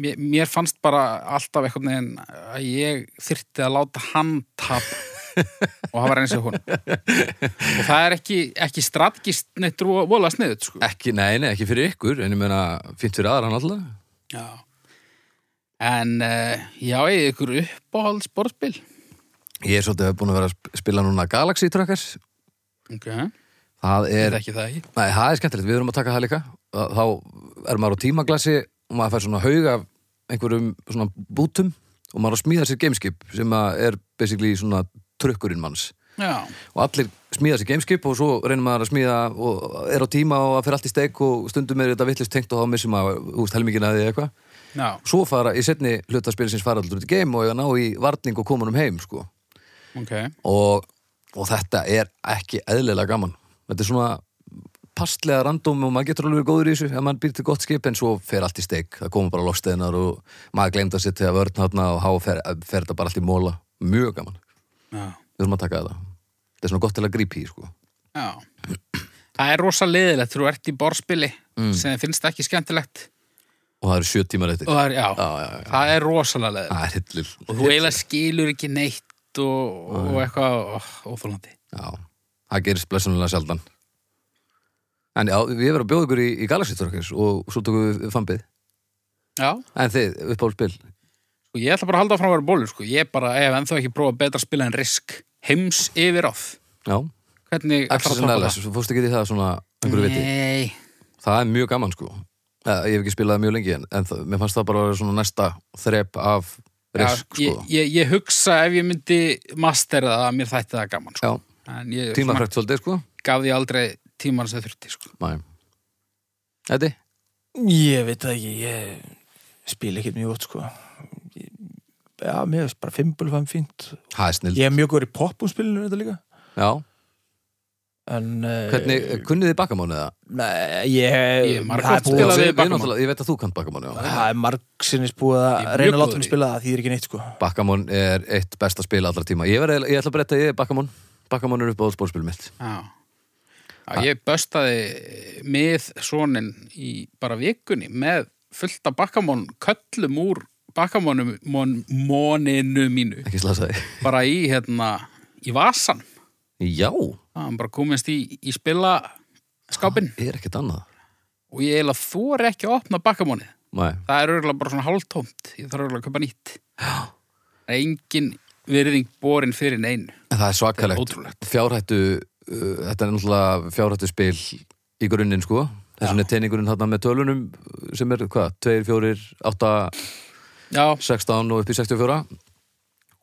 S1: mér, mér fannst bara alltaf einhvern veginn að ég þyrfti að láta hann tap og hafa reyns í hún og það er ekki, ekki strategist neitt vola sniðut sko.
S3: ekki, nei, nei, ekki fyrir ykkur En ég meina, fínt fyrir aðra hann alltaf
S1: Já. En uh, já, ég ykkur uppáhald sportspil.
S3: Ég er svolítið búin að vera að sp- spila núna Galaxy Trackers
S1: Ok, er
S3: Það er
S1: það ekki það ekki?
S3: Nei, það er skemmtilegt, við erum að taka það líka Þá þá er maður á tímaglasi og maður fær svona haug af einhverjum svona bútum og maður er að smíða sér gameskip sem að er basically svona trukkurinn manns
S1: Já,
S3: og allir smíða sér gameskip og svo reynir maður að smíða og er á tíma og að fyrir allt í steik og stundum er þetta vittlist tengt og þá missum maður úst helmingin að því eða eitthvað
S1: já,
S3: Svo fara í setni hlutaspilsins fara allir út í game og ég að ná í varning og komunum heim sko
S1: ok.
S3: og, og þetta er ekki eðlilega gaman þetta er svona pastlega random og maður getur alveg verið góður í þessu ef maður býr til gott skip en svo fer allt í steik það koma bara loftsteinar og maður glemt að setja vörn hátna og há fer, fer þetta bara allt í móla mjög gaman,
S1: Já,
S3: við erum að taka þetta þetta er svona gott til að grípi í sko
S1: já. Það er rosa liðilegt þegar þú ert í borðspili
S3: Mm.
S1: sem þér finnst ekki skemmtilegt.
S3: og það eru sjö tímar eftir
S1: Og það er, já,
S3: Já, já, Ah, já.
S1: það er rosalega liðilegt.
S3: það er hillil
S1: Og þú eiginlega skilur ekki neitt og,
S3: Ah,
S1: og eitthvað oh, ó, óþólandi.
S3: Já, það gerist blessunulega sjaldan en já, við erum að bjóða ykkur í, í Galaxy Trackers og svo tökum við fambið
S1: Já,
S3: en þið, upp á spil
S1: sko. og ég ætla bara að halda áfram að vera bólur, sko. Ég bara, ef ennþá ekki prófa betra spila en risk. heims yfir áð
S3: já,
S1: hvernig ætlarðu
S3: Access and Allies, svo fórstu ekki í það svona einhverju viti,
S1: Nei,
S3: það er mjög gaman sko Eh, ég hef ekki spilað það mjög lengi en, en það, mér fannst það bara að vera svona næsta þrep af risk
S1: já,
S3: sko
S1: ég, ég, ég hugsa ef ég myndi mastera það að mér þætti það gaman sko.
S3: já,
S1: en ég svona,
S3: tímafrækt svolítið sko
S1: gaf því aldrei tíman sem þurfti sko.
S3: Mæ. Eddi?
S2: Ég veit það ekki, ég spil ekkert mjög oft sko Ég- Já, mér finnst bara fimbulfam fínt
S3: Það er snill
S2: Ég er mjög góður í poppunspilinu þetta líka
S3: já.
S2: En eh,
S3: Hvernig, kunnið þið bakamónu eða?
S2: Nei, ég
S1: Ég er margoft
S2: það er búið-
S1: spilað
S3: Ég-
S1: við
S3: ég-
S1: Bakamon.
S3: náttúrulega- Ég veit að þú kannt bakamónu já.
S2: Það er marg sinnis búið
S1: Ég
S2: að
S1: er
S2: reyna
S1: mjög
S2: að láta
S1: góður
S2: mig
S1: í-
S2: spila það, því er ekki neitt sko
S3: Bakkamón er eitt besta spil allra tíma Ég, verð, eiginlega- ég ætla að breyta, ég er Bakkamón Bakkamón er upp á allspórspil mitt
S1: já. já ég böstaði með sonin í bara vikunni með fullta bakkamón köllum úr bakkamónum mon, moninu mínu
S3: Ekki slasaði
S1: bara í hérna í vasan
S3: Já,
S1: það hann bara komist í, í spila skápin
S3: er ekkert annað
S1: og ég eiginlega þor ekki að opna bakkamónið
S3: Nei,
S1: það er örgulega bara svona hálftómt ég þarf örgulega að köpa nýtt það er engin virðing borin fyrir neinu
S3: en það er
S1: Það er
S3: svakalegt
S1: ótrúlegt.
S3: Fjárhættu, uh, þetta er náttúrulega fjárhættu spil í grunninn sko Þessan er teiningurinn þarna með tölunum uh, sem er, hvað, 2, 4, 8,
S1: já,
S3: 16 og upp í 64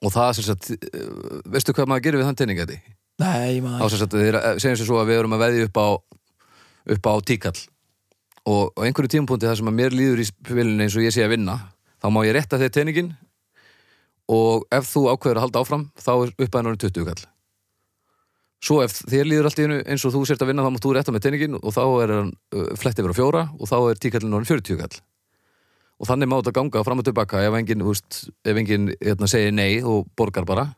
S3: og það sem sagt uh, veistu hvað maður gerir við þann teining þetta?
S2: Nei, maður
S3: þá sem sagt, þeir segjum sér svo að við erum að veðja upp á upp á tíkall og á einhverju tímapunkti þar sem að mér líður í spilinu eins og ég sé að vinna þá má ég rétta þeir teiningin og ef þú ákveður að halda áfram þá er uppæðin orðin 20 kall svo ef þér líður allt í einu eins og þú sért að vinna þá mátt þú rétta með teiningin og þá er hann uh, flett yfir á fjóra og þá er tíkallin orðin 40 kall og þannig má þetta ganga fram og tilbaka ef enginn, þú veist, ef enginn hérna, segir nei og borgar bara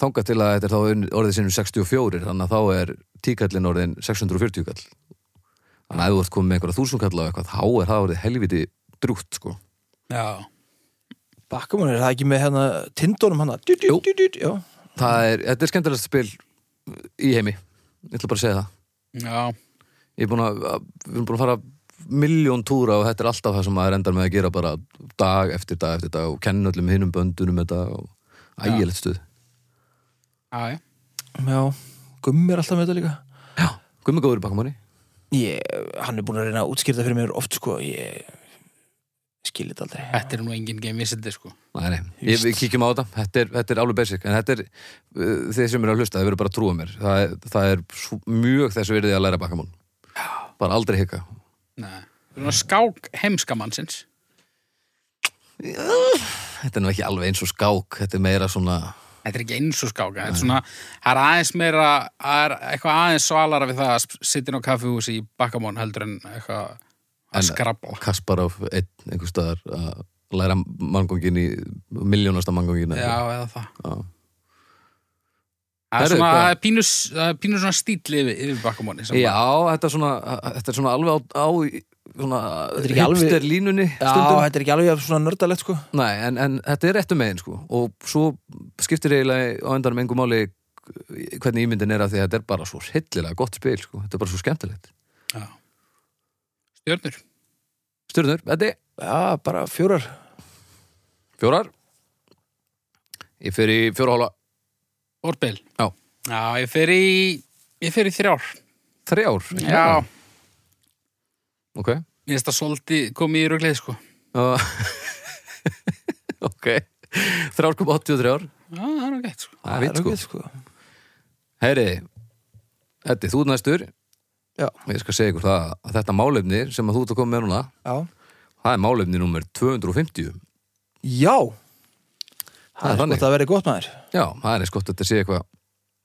S3: þangað til að þetta er þá un- orðið sinum 64 þannig að þá er tíkallin orðin 640 kall þannig að ef þú ert komið með einhverja þúsundkalla og eitthvað þá er það orðið helviti drúgt sko
S1: já,
S2: Bakkamón er það ekki með hérna tindónum hann djú, djú,
S3: Jú.
S2: djú, djú, já.
S3: það er, þetta er skemmtilegast spil í heimi ég ætla bara að segja það
S1: já.
S3: ég er búin að, að- við erum búin að fara miljón túra og þetta er alltaf það sem maður endar með að gera bara dag eftir dag eftir dag og kenna öllum hinum böndunum þetta og ægilegt stuð
S1: já, já.
S2: já, gummi er alltaf með þetta líka
S3: já, gummi góður í bakkamanni
S2: ég, Hann er búin að reyna að útskýrta fyrir mér oft sko Ég skil þetta aldrei
S1: þetta er nú engin geimvísindi sko
S3: Nei, nei, ég, við kíkjum á þetta, þetta er, þetta er alveg basic en þetta er, uh, þið sem eru að hlusta, þið verður bara að trúa mér það er, það er svo, mjög þessu verðið að læra bakamón bara aldrei hika
S1: Nei. Svona skák heimskamannsins
S3: þetta er nú ekki alveg eins og skák þetta er meira svona,
S1: þetta er ekki eins og skáka þetta er svona, það er aðeins meira það er eitthvað aðeins svalara við það að sittin á kaffihúsi í bakkamón heldur en eitthvað
S3: En-
S1: að skrabla
S3: Kasparov einn, einhver staðar að læra mangongin í miljónasta mangongin
S1: já, eða það
S3: já.
S1: það er
S3: Herru,
S1: svona
S3: hvað-
S1: það er pínus, það er pínus svona stíli yfir, yfir bakkamóni sem
S3: já, þetta er svona þetta er svona alveg á, á í- svona
S2: Þetta er ekki alveg-
S3: hipster línunni
S2: Já, þetta er ekki alveg jafn svona nördalegt sko
S3: Nei, en, en þetta er réttu megin sko og svo skiptir eiginlega á endanum engum máli hvernig ímyndin er að því að þetta er bara svo hillilega gott spil sko, þetta er bara svo skemmtilegt
S1: Já. Stjörnur.
S3: Stjörnur, Eddi,
S2: Já, bara fjórar
S3: fjórar Ég fer í fjóra hóla
S1: Orbil.
S3: Já.
S1: Já, ég fer í, ég fer í þrjár.
S3: þrjár
S1: Já.
S3: Ok
S1: Mér finnst það svolítið komið í rugleið, sko.
S3: uh, Ok Þrjár kom 83
S1: Já, það er nú gætt, sko.
S3: Það er vitt sko
S2: ágætt, sko
S3: Heyri, Eddi, þú ert næstur
S2: Já.
S3: Ég skal segja ykkur það að þetta málefni sem að þú ert að koma með núna
S2: Já,
S3: það er málefni nummer 250
S2: já.
S3: er
S2: Það er
S3: þannig.
S2: gott að verði gott maður
S3: Já, það er eins gott að þetta sé eitthvað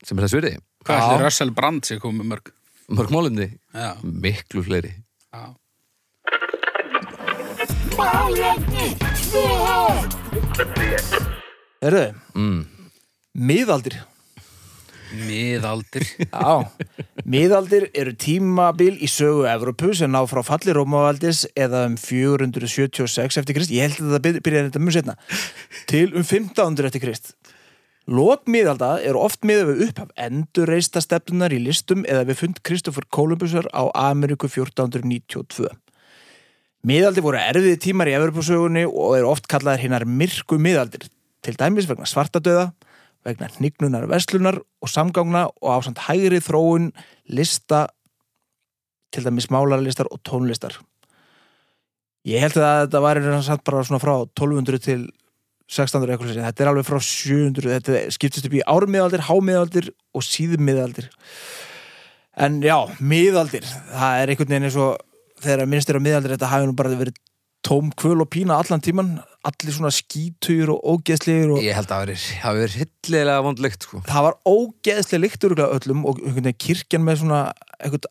S3: sem er þess virði.
S1: Hvað
S2: Já.
S1: ætli Russell Brand sé komið mörg?
S3: Mörg málumni,
S1: Já.
S3: miklu fleiri.
S1: Já.
S2: Erðu,
S3: Mm.
S2: miðaldir
S1: Miðaldir.
S2: Já, miðaldir eru tímabil í sögu Evrópu sem ná frá falli Rómavaldis eða um 476 eftir Krist, ég held að það byrjaði þetta mjög setna, til um 1500 eftir Krist. Lok miðalda eru oft miðað við upphaf endurreista stefnunar í listum eða við fund Kristoffer Kolumbusar á Ameríku 1492. Miðaldir voru erfiði tímar í Evrópusögunni og eru oft kallaðar hinnar myrku miðaldir, til dæmis vegna svartadauða, vegna hnignunar verslunar og samgangna og ásamt hægri þróun lista til dæmis málarlistar og tónlistar ég held að þetta var samt bara svona frá 1200 til 1600 eitthvað leysið, þetta er alveg frá 700 þetta skiptist upp í ármiðaldir, hámiðaldir og síðmiðaldir en já, miðaldir það er einhvern veginn eins og þegar minnst er á miðaldir, þetta hafi nú bara verið tóm kvöl og pína allan tíman allir svona skítur og ógeðslegir og
S3: Ég held að það hafi verið hillilega vondlegt sko.
S2: það var ógeðslega líkt örgulega öllum og einhvern veginn kirkjan með svona einhvern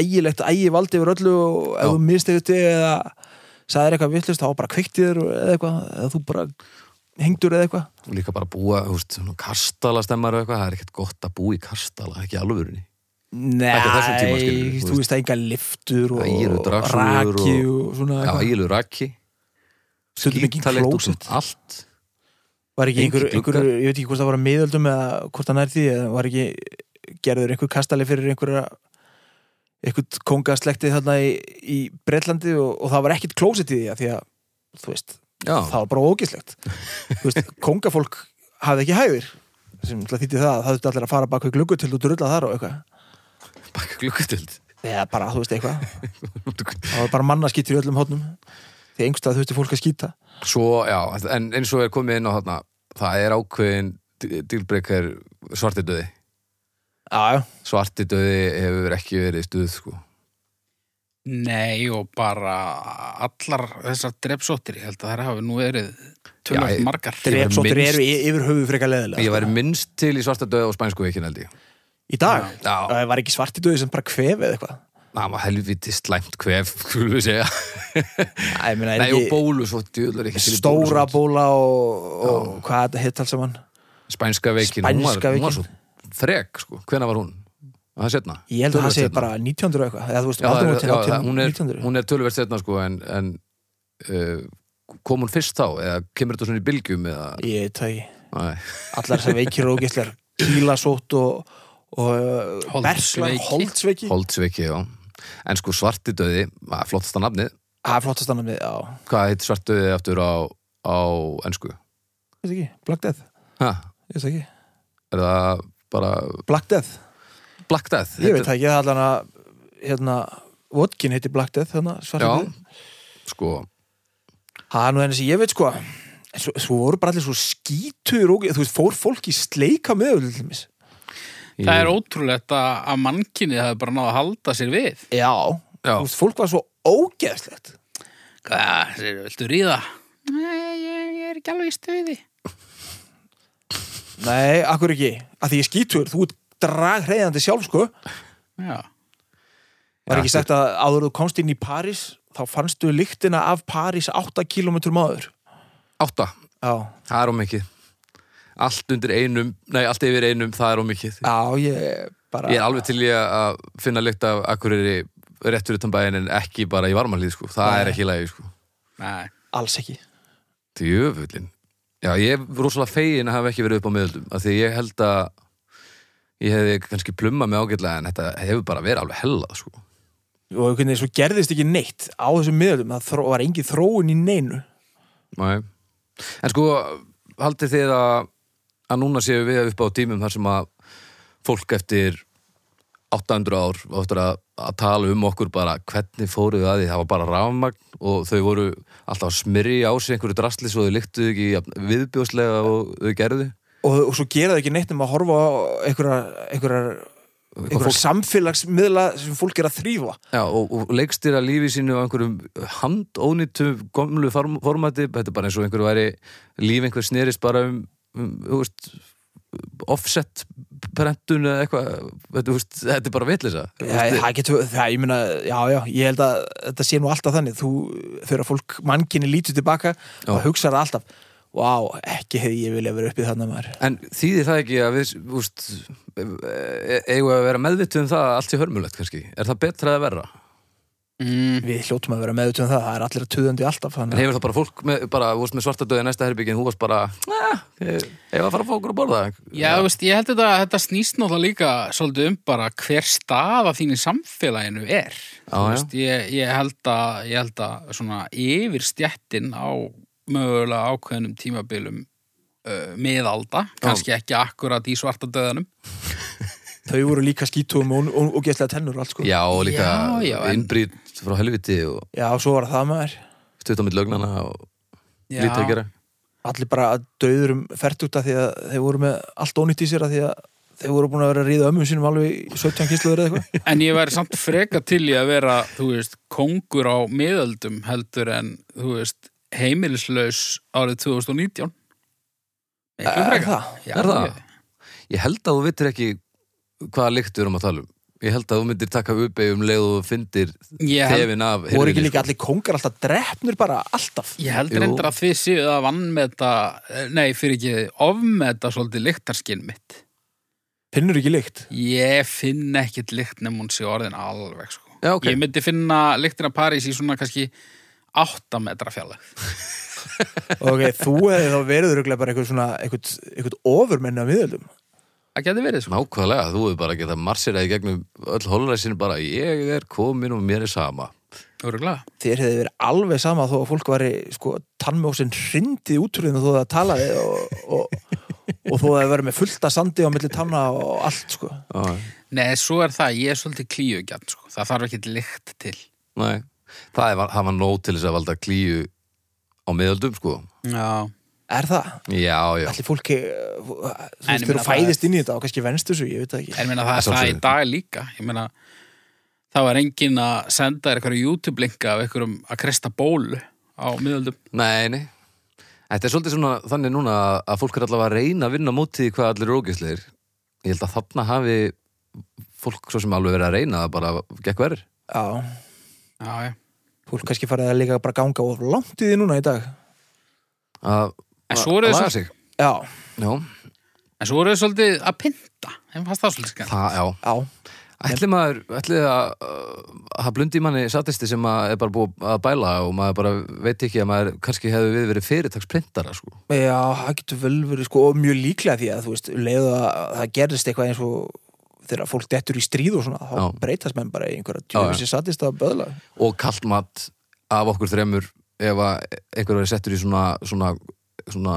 S2: ægilegt ægivald yfir öllu og
S3: Já.
S2: ef þú mistegutti eða sagðir eitthvað vittlust þá var bara kveiktiður eða eitthvað eða þú bara hengdur eða eitthvað
S3: og líka bara búa, þú veist, svona kastala stemmar og eitthvað, það er ekkert gott að búa í kastala ekki í alvörunni. Þetta er þessum tíma, skilur,
S2: Nei,
S3: þú
S2: þú veist það enga liftur
S3: Ægilegur
S2: og
S3: dragsúgur
S2: raki
S3: og-
S2: og svona
S3: Já,
S2: eitthvað
S3: ægilegu raki,
S2: Stundum engin
S3: skítalegt út um
S2: klósett.
S3: allt.
S2: Var ekki
S3: engin
S2: einhver, einhver,
S3: gluggar.
S2: ég veit ekki hvort það var að miðöldum eða hvort það nær því eða var ekki gerður einhver kastali fyrir einhverja einhvert kongaslektið þarna í, í Breitlandi og, og það var ekkit klósett í því að því að, þú veist,
S3: Já,
S2: það var bara ógislegt þú veist, kongafólk hafði ekki hæðir sem þýtti það að það þurfti allir að fara bak við gluggu til þú drulla þar og eitthvað
S3: baka glukkutöld.
S2: eða bara, þú veist, eitthvað það var bara mannaskýttir í öllum hótnum því einhverstað þurfti fólk að skýta
S3: Svo, já, en eins og er komið inn á þarna, það er ákveðin dýlbreykar svartidöði.
S2: Já, já,
S3: Svartidöði hefur ekki verið stuð, sko.
S1: Nei og bara allar þessar drepsóttir, ég held að það hafi nú verið
S3: Já, ég-
S1: tölvöld margar.
S3: Ég var
S2: drepsóttir
S3: minnst-
S2: eru y- yfir höfu frekar leðilega
S3: Ég væri minnst til í svartidöði og spænsku veikin, held ég.
S2: í dag
S3: Já.
S2: það var ekki svartidauði sem bara kvef eða eitthvað
S3: Það var helviti slæmt kvef, skulum við segja.
S2: Æ, ég meina, er
S3: Nei, og
S2: ekki
S3: bólusótt, djöðlar ekki til í
S2: stóra
S3: bólusótt.
S2: bóla og, og hvað þetta hitt alls saman
S3: Spænska
S2: Spænska
S3: veikin, hún, var, hún var
S2: veikin.
S3: svo frek, sko. Hvena var hún? Það er setna.
S2: ég held að það
S3: Töluvert
S2: sé
S3: seinna.
S2: bara 1900 og eitthvað eða þú veist,
S3: Já, það er-
S2: 1800
S3: já, það- hún, er,
S2: 1900
S3: hún er tölverst setna, sko, en, en uh, kom hún fyrst þá? Eða kemur þetta svona í bylgjum? Eða,
S2: ég tæki
S3: nei,
S2: allar þessar veikir og ógislar kílasótt og, uh, og
S1: Holdsveiki.
S2: berslar, holdsveiki
S3: holdsveiki, já. En sko, svartidauði, að flottasta nafnið,
S2: það er flottast annar með, já,
S3: hvað heit svartidauði aftur á, á ennsku?
S2: veist ekki, Black Death
S3: Ha,
S2: ég veist ekki,
S3: er það bara
S2: Black Death
S3: Black Death?
S2: ég veit
S3: heitir-
S2: það ekki, það er allan að hérna, Vodkin heiti Black Death hérna, þannig, svartidauði.
S3: Já, sko,
S2: Það er nú henni sem ég veit sko en svo, svo voru bara allir svo skítur og þú veist, fór fólk í sleika með til dæmis.
S1: Það er ótrúlegt að, að mannkynnið hafi bara náða að halda sér við.
S2: Já
S3: Já.
S2: Þú veist, fólk var svo ógeðslegt
S1: Hvað, segir, viltu ríða? Nei, ég, ég er ekki alveg í stuði.
S2: Nei, akkur ekki, að því ég er skítur þú ert draghreiðandi sjálf sko
S1: Já,
S2: Var
S3: Já,
S2: ekki
S3: þetta-
S2: sagt að áður þú komst inn í París þá fannstu lyktina af París 8 km áður
S3: átta,
S2: Já,
S3: það er ómikið. Allt undir einum, nei, allt yfir einum, það er ómikið.
S2: já, ég bara
S3: Ég er alveg til í að- að finna lykt af Akureyri rétt fyrir utan bæinn en ekki bara í varmalíð sko. Það er
S2: Nei.
S3: ekki lægi sko.
S1: nei.
S2: alls ekki
S3: Djöfullin. Já, ég er rosalega fegin að hafa ekki verið upp á miðlum af því ég held að ég hefði kannski plummað mig ágætlega en þetta hefur bara verið alveg hella sko.
S2: og einhvern veginn svo gerðist ekki neitt á þessum miðlum, það þró- var engin þróun í neinu
S3: Nei. En sko, haldið þið að, að núna séu við upp á tímum þar sem að fólk eftir 800 ár áttur að, að tala um okkur bara hvernig fóruðu að því, það var bara rafmagn og þau voru alltaf að smyrja á sig einhverju drasli svo þau lyktuðu ekki jafn viðbjóðslega og þau gerðu
S2: og, og svo gera það ekki neitt um að horfa á einhverjar einhverjar einhverjar
S3: fólk-
S2: samfélagsmiðla sem fólk er að þrýfa
S3: Já, og, og leikstýra lífi sínu á einhverjum handónýttu gömlu form, formati, þetta er bara eins og einhverju væri líf einhver snerist bara um, um þú veist, offset prentun eða eitthvað þetta, þú veist, þetta er bara vitlisa
S2: það, það getur, það, ég meina, já, já ég held að þetta sé nú alltaf þannig þú, þegar fólk mannkinni lítur tilbaka og hugsar það alltaf Vá, ekki hefði ég vilja vera uppið þannig maður
S3: En þýðir það ekki að við þú veist, e- eigum við að vera meðvituð um það að allt sé hörmulegt kannski, er það betra eða verra?
S1: Mm,
S2: Við hljótum að vera meðutum það, það er allir að tuðandi alltaf
S3: En
S2: þannig.
S3: hefur það bara fólk með, bara, þú veist, með svartadöði næsta herbyggin, þú varst bara "Ah, ég ég var að fara að fá okkur að borða
S1: já, þú veist, ég held þetta, þetta snýst náttúrulega líka svolítið um bara hver staða þín í samfélaginu er.
S3: Já,
S1: Þú
S3: já.
S1: veist, ég, ég, held að, ég held að svona yfirstjættin á mögulega ákveðnum tímabilum uh, miðalda, kannski ekki akkurat í svarta döðanum.
S2: Þau voru líka skítúum og, og, og gæslega tennur og allt sko.
S3: Já, og líka
S1: Já, já, en-
S3: innbrýt frá helviti og
S2: Já, svo var það maður.
S3: stutt á mitt lögnana og lítið að gera
S2: Allir bara döður um fertugta því að þeir voru með allt ónýtt í sér að því að þeir voru búin að vera að ríða ömmu sínum alveg í 17 kísluður eða eitthvað.
S1: En ég væri samt freka til í að vera, þú veist, kongur á miðöldum heldur en, þú veist, heimilislaus árið 2019. Miklu
S2: Er
S1: freka.
S2: það?
S1: Já,
S3: Er það?
S1: ég-
S3: Ég held að þú vittir ekki hvaða lykt við erum að tala um Ég held að þú myndir taka uppeig um leið og þú fyndir
S1: Ég held,
S3: tefin af
S2: Voru ekki
S3: hirðinni,
S2: líka allir kongar alltaf drefnur bara alltaf.
S1: ég held
S3: Jú.
S1: reyndar að þið séu að vannmeta, nei, fyrir ekki, ofmeta svolítið lyktarskinn mitt.
S2: Finnur ekki líkt.
S1: Ég finn ekkit lykt nefn hún sé orðin alveg, sko.
S3: Já, ok.
S1: Ég myndi finna lyktina París í svona kannski 8 metra fjallegð.
S2: Ok, þú hefði þá verið röglega bara eitthvað svona, eitthvað, eitthvað ofurmenni á miðöldum.
S1: Það geti verið, sko.
S3: Nákvæmlega, þú hefur bara getað marsiraði gegnum öll holræsin bara ég er komin og mér er sama
S1: Öruglega.
S2: Þér hefði verið alveg sama þó að fólk var sko, tannmjósin hrindið útrúðin og þó að það talaði og, og, og þó að það verið með fullta sandi á milli tanna og allt sko.
S3: ah,
S1: Nei, svo er það, ég er svolítið klíugjarn, sko. Það þarf ekkit lykt til.
S3: Nei, það er, það var nóg til þess að valda klíu á miðaldum sko
S1: Já.
S2: Er það?
S3: Já, já,
S2: Allir fólki, uh, þú
S1: En
S2: veist,
S1: ég
S2: þegar
S1: meina
S2: þú
S1: það er-
S2: fæðist inn í þetta og kannski venst þessu, ég veit það ekki.
S1: En meina, það er
S3: Að
S1: það í
S3: sjálfsögðu.
S1: dag líka. Ég meina, þá er enginn að senda þér eitthvað YouTube-linka af einhverjum að kresta bólu á miðöldum.
S3: nei, nei Þetta er svolítið svona þannig núna að- að fólk er allavega að reyna að vinna á móti því hvað allir eru ógæsleir Ég held að þarna hafi fólk svo sem alveg verið að reyna það bara gekk verður
S2: Já,
S1: Já, já.
S2: fólk kannski farið að líka bara ganga of langt í því núna í dag.
S3: að
S1: En svo eru
S3: að
S1: þau
S3: laga
S1: svo-
S3: sig.
S2: Já,
S3: Já,
S1: En svo eru þau svolítið að pynta. En fast það svolítið skan.
S3: það, já
S2: já,
S3: Ætli maður, ætli að uh, það blundi í manni satisti sem að er bara búið að bæla og maður bara veit ekki að maður kannski hefði við verið fyrirtaksprintara sko.
S2: já, það getur vel verið sko og mjög líklega því að þú veist, leiðu að það gerðist eitthvað eins og þegar fólk dettur í stríð og svona, þá
S3: Já.
S2: breytast menn bara í einhverja
S3: Já, já.
S2: tjóðvísi sattist að böðla.
S3: og kalt mat af okkur þremur ef að einhver verið settur í svona, svona, svona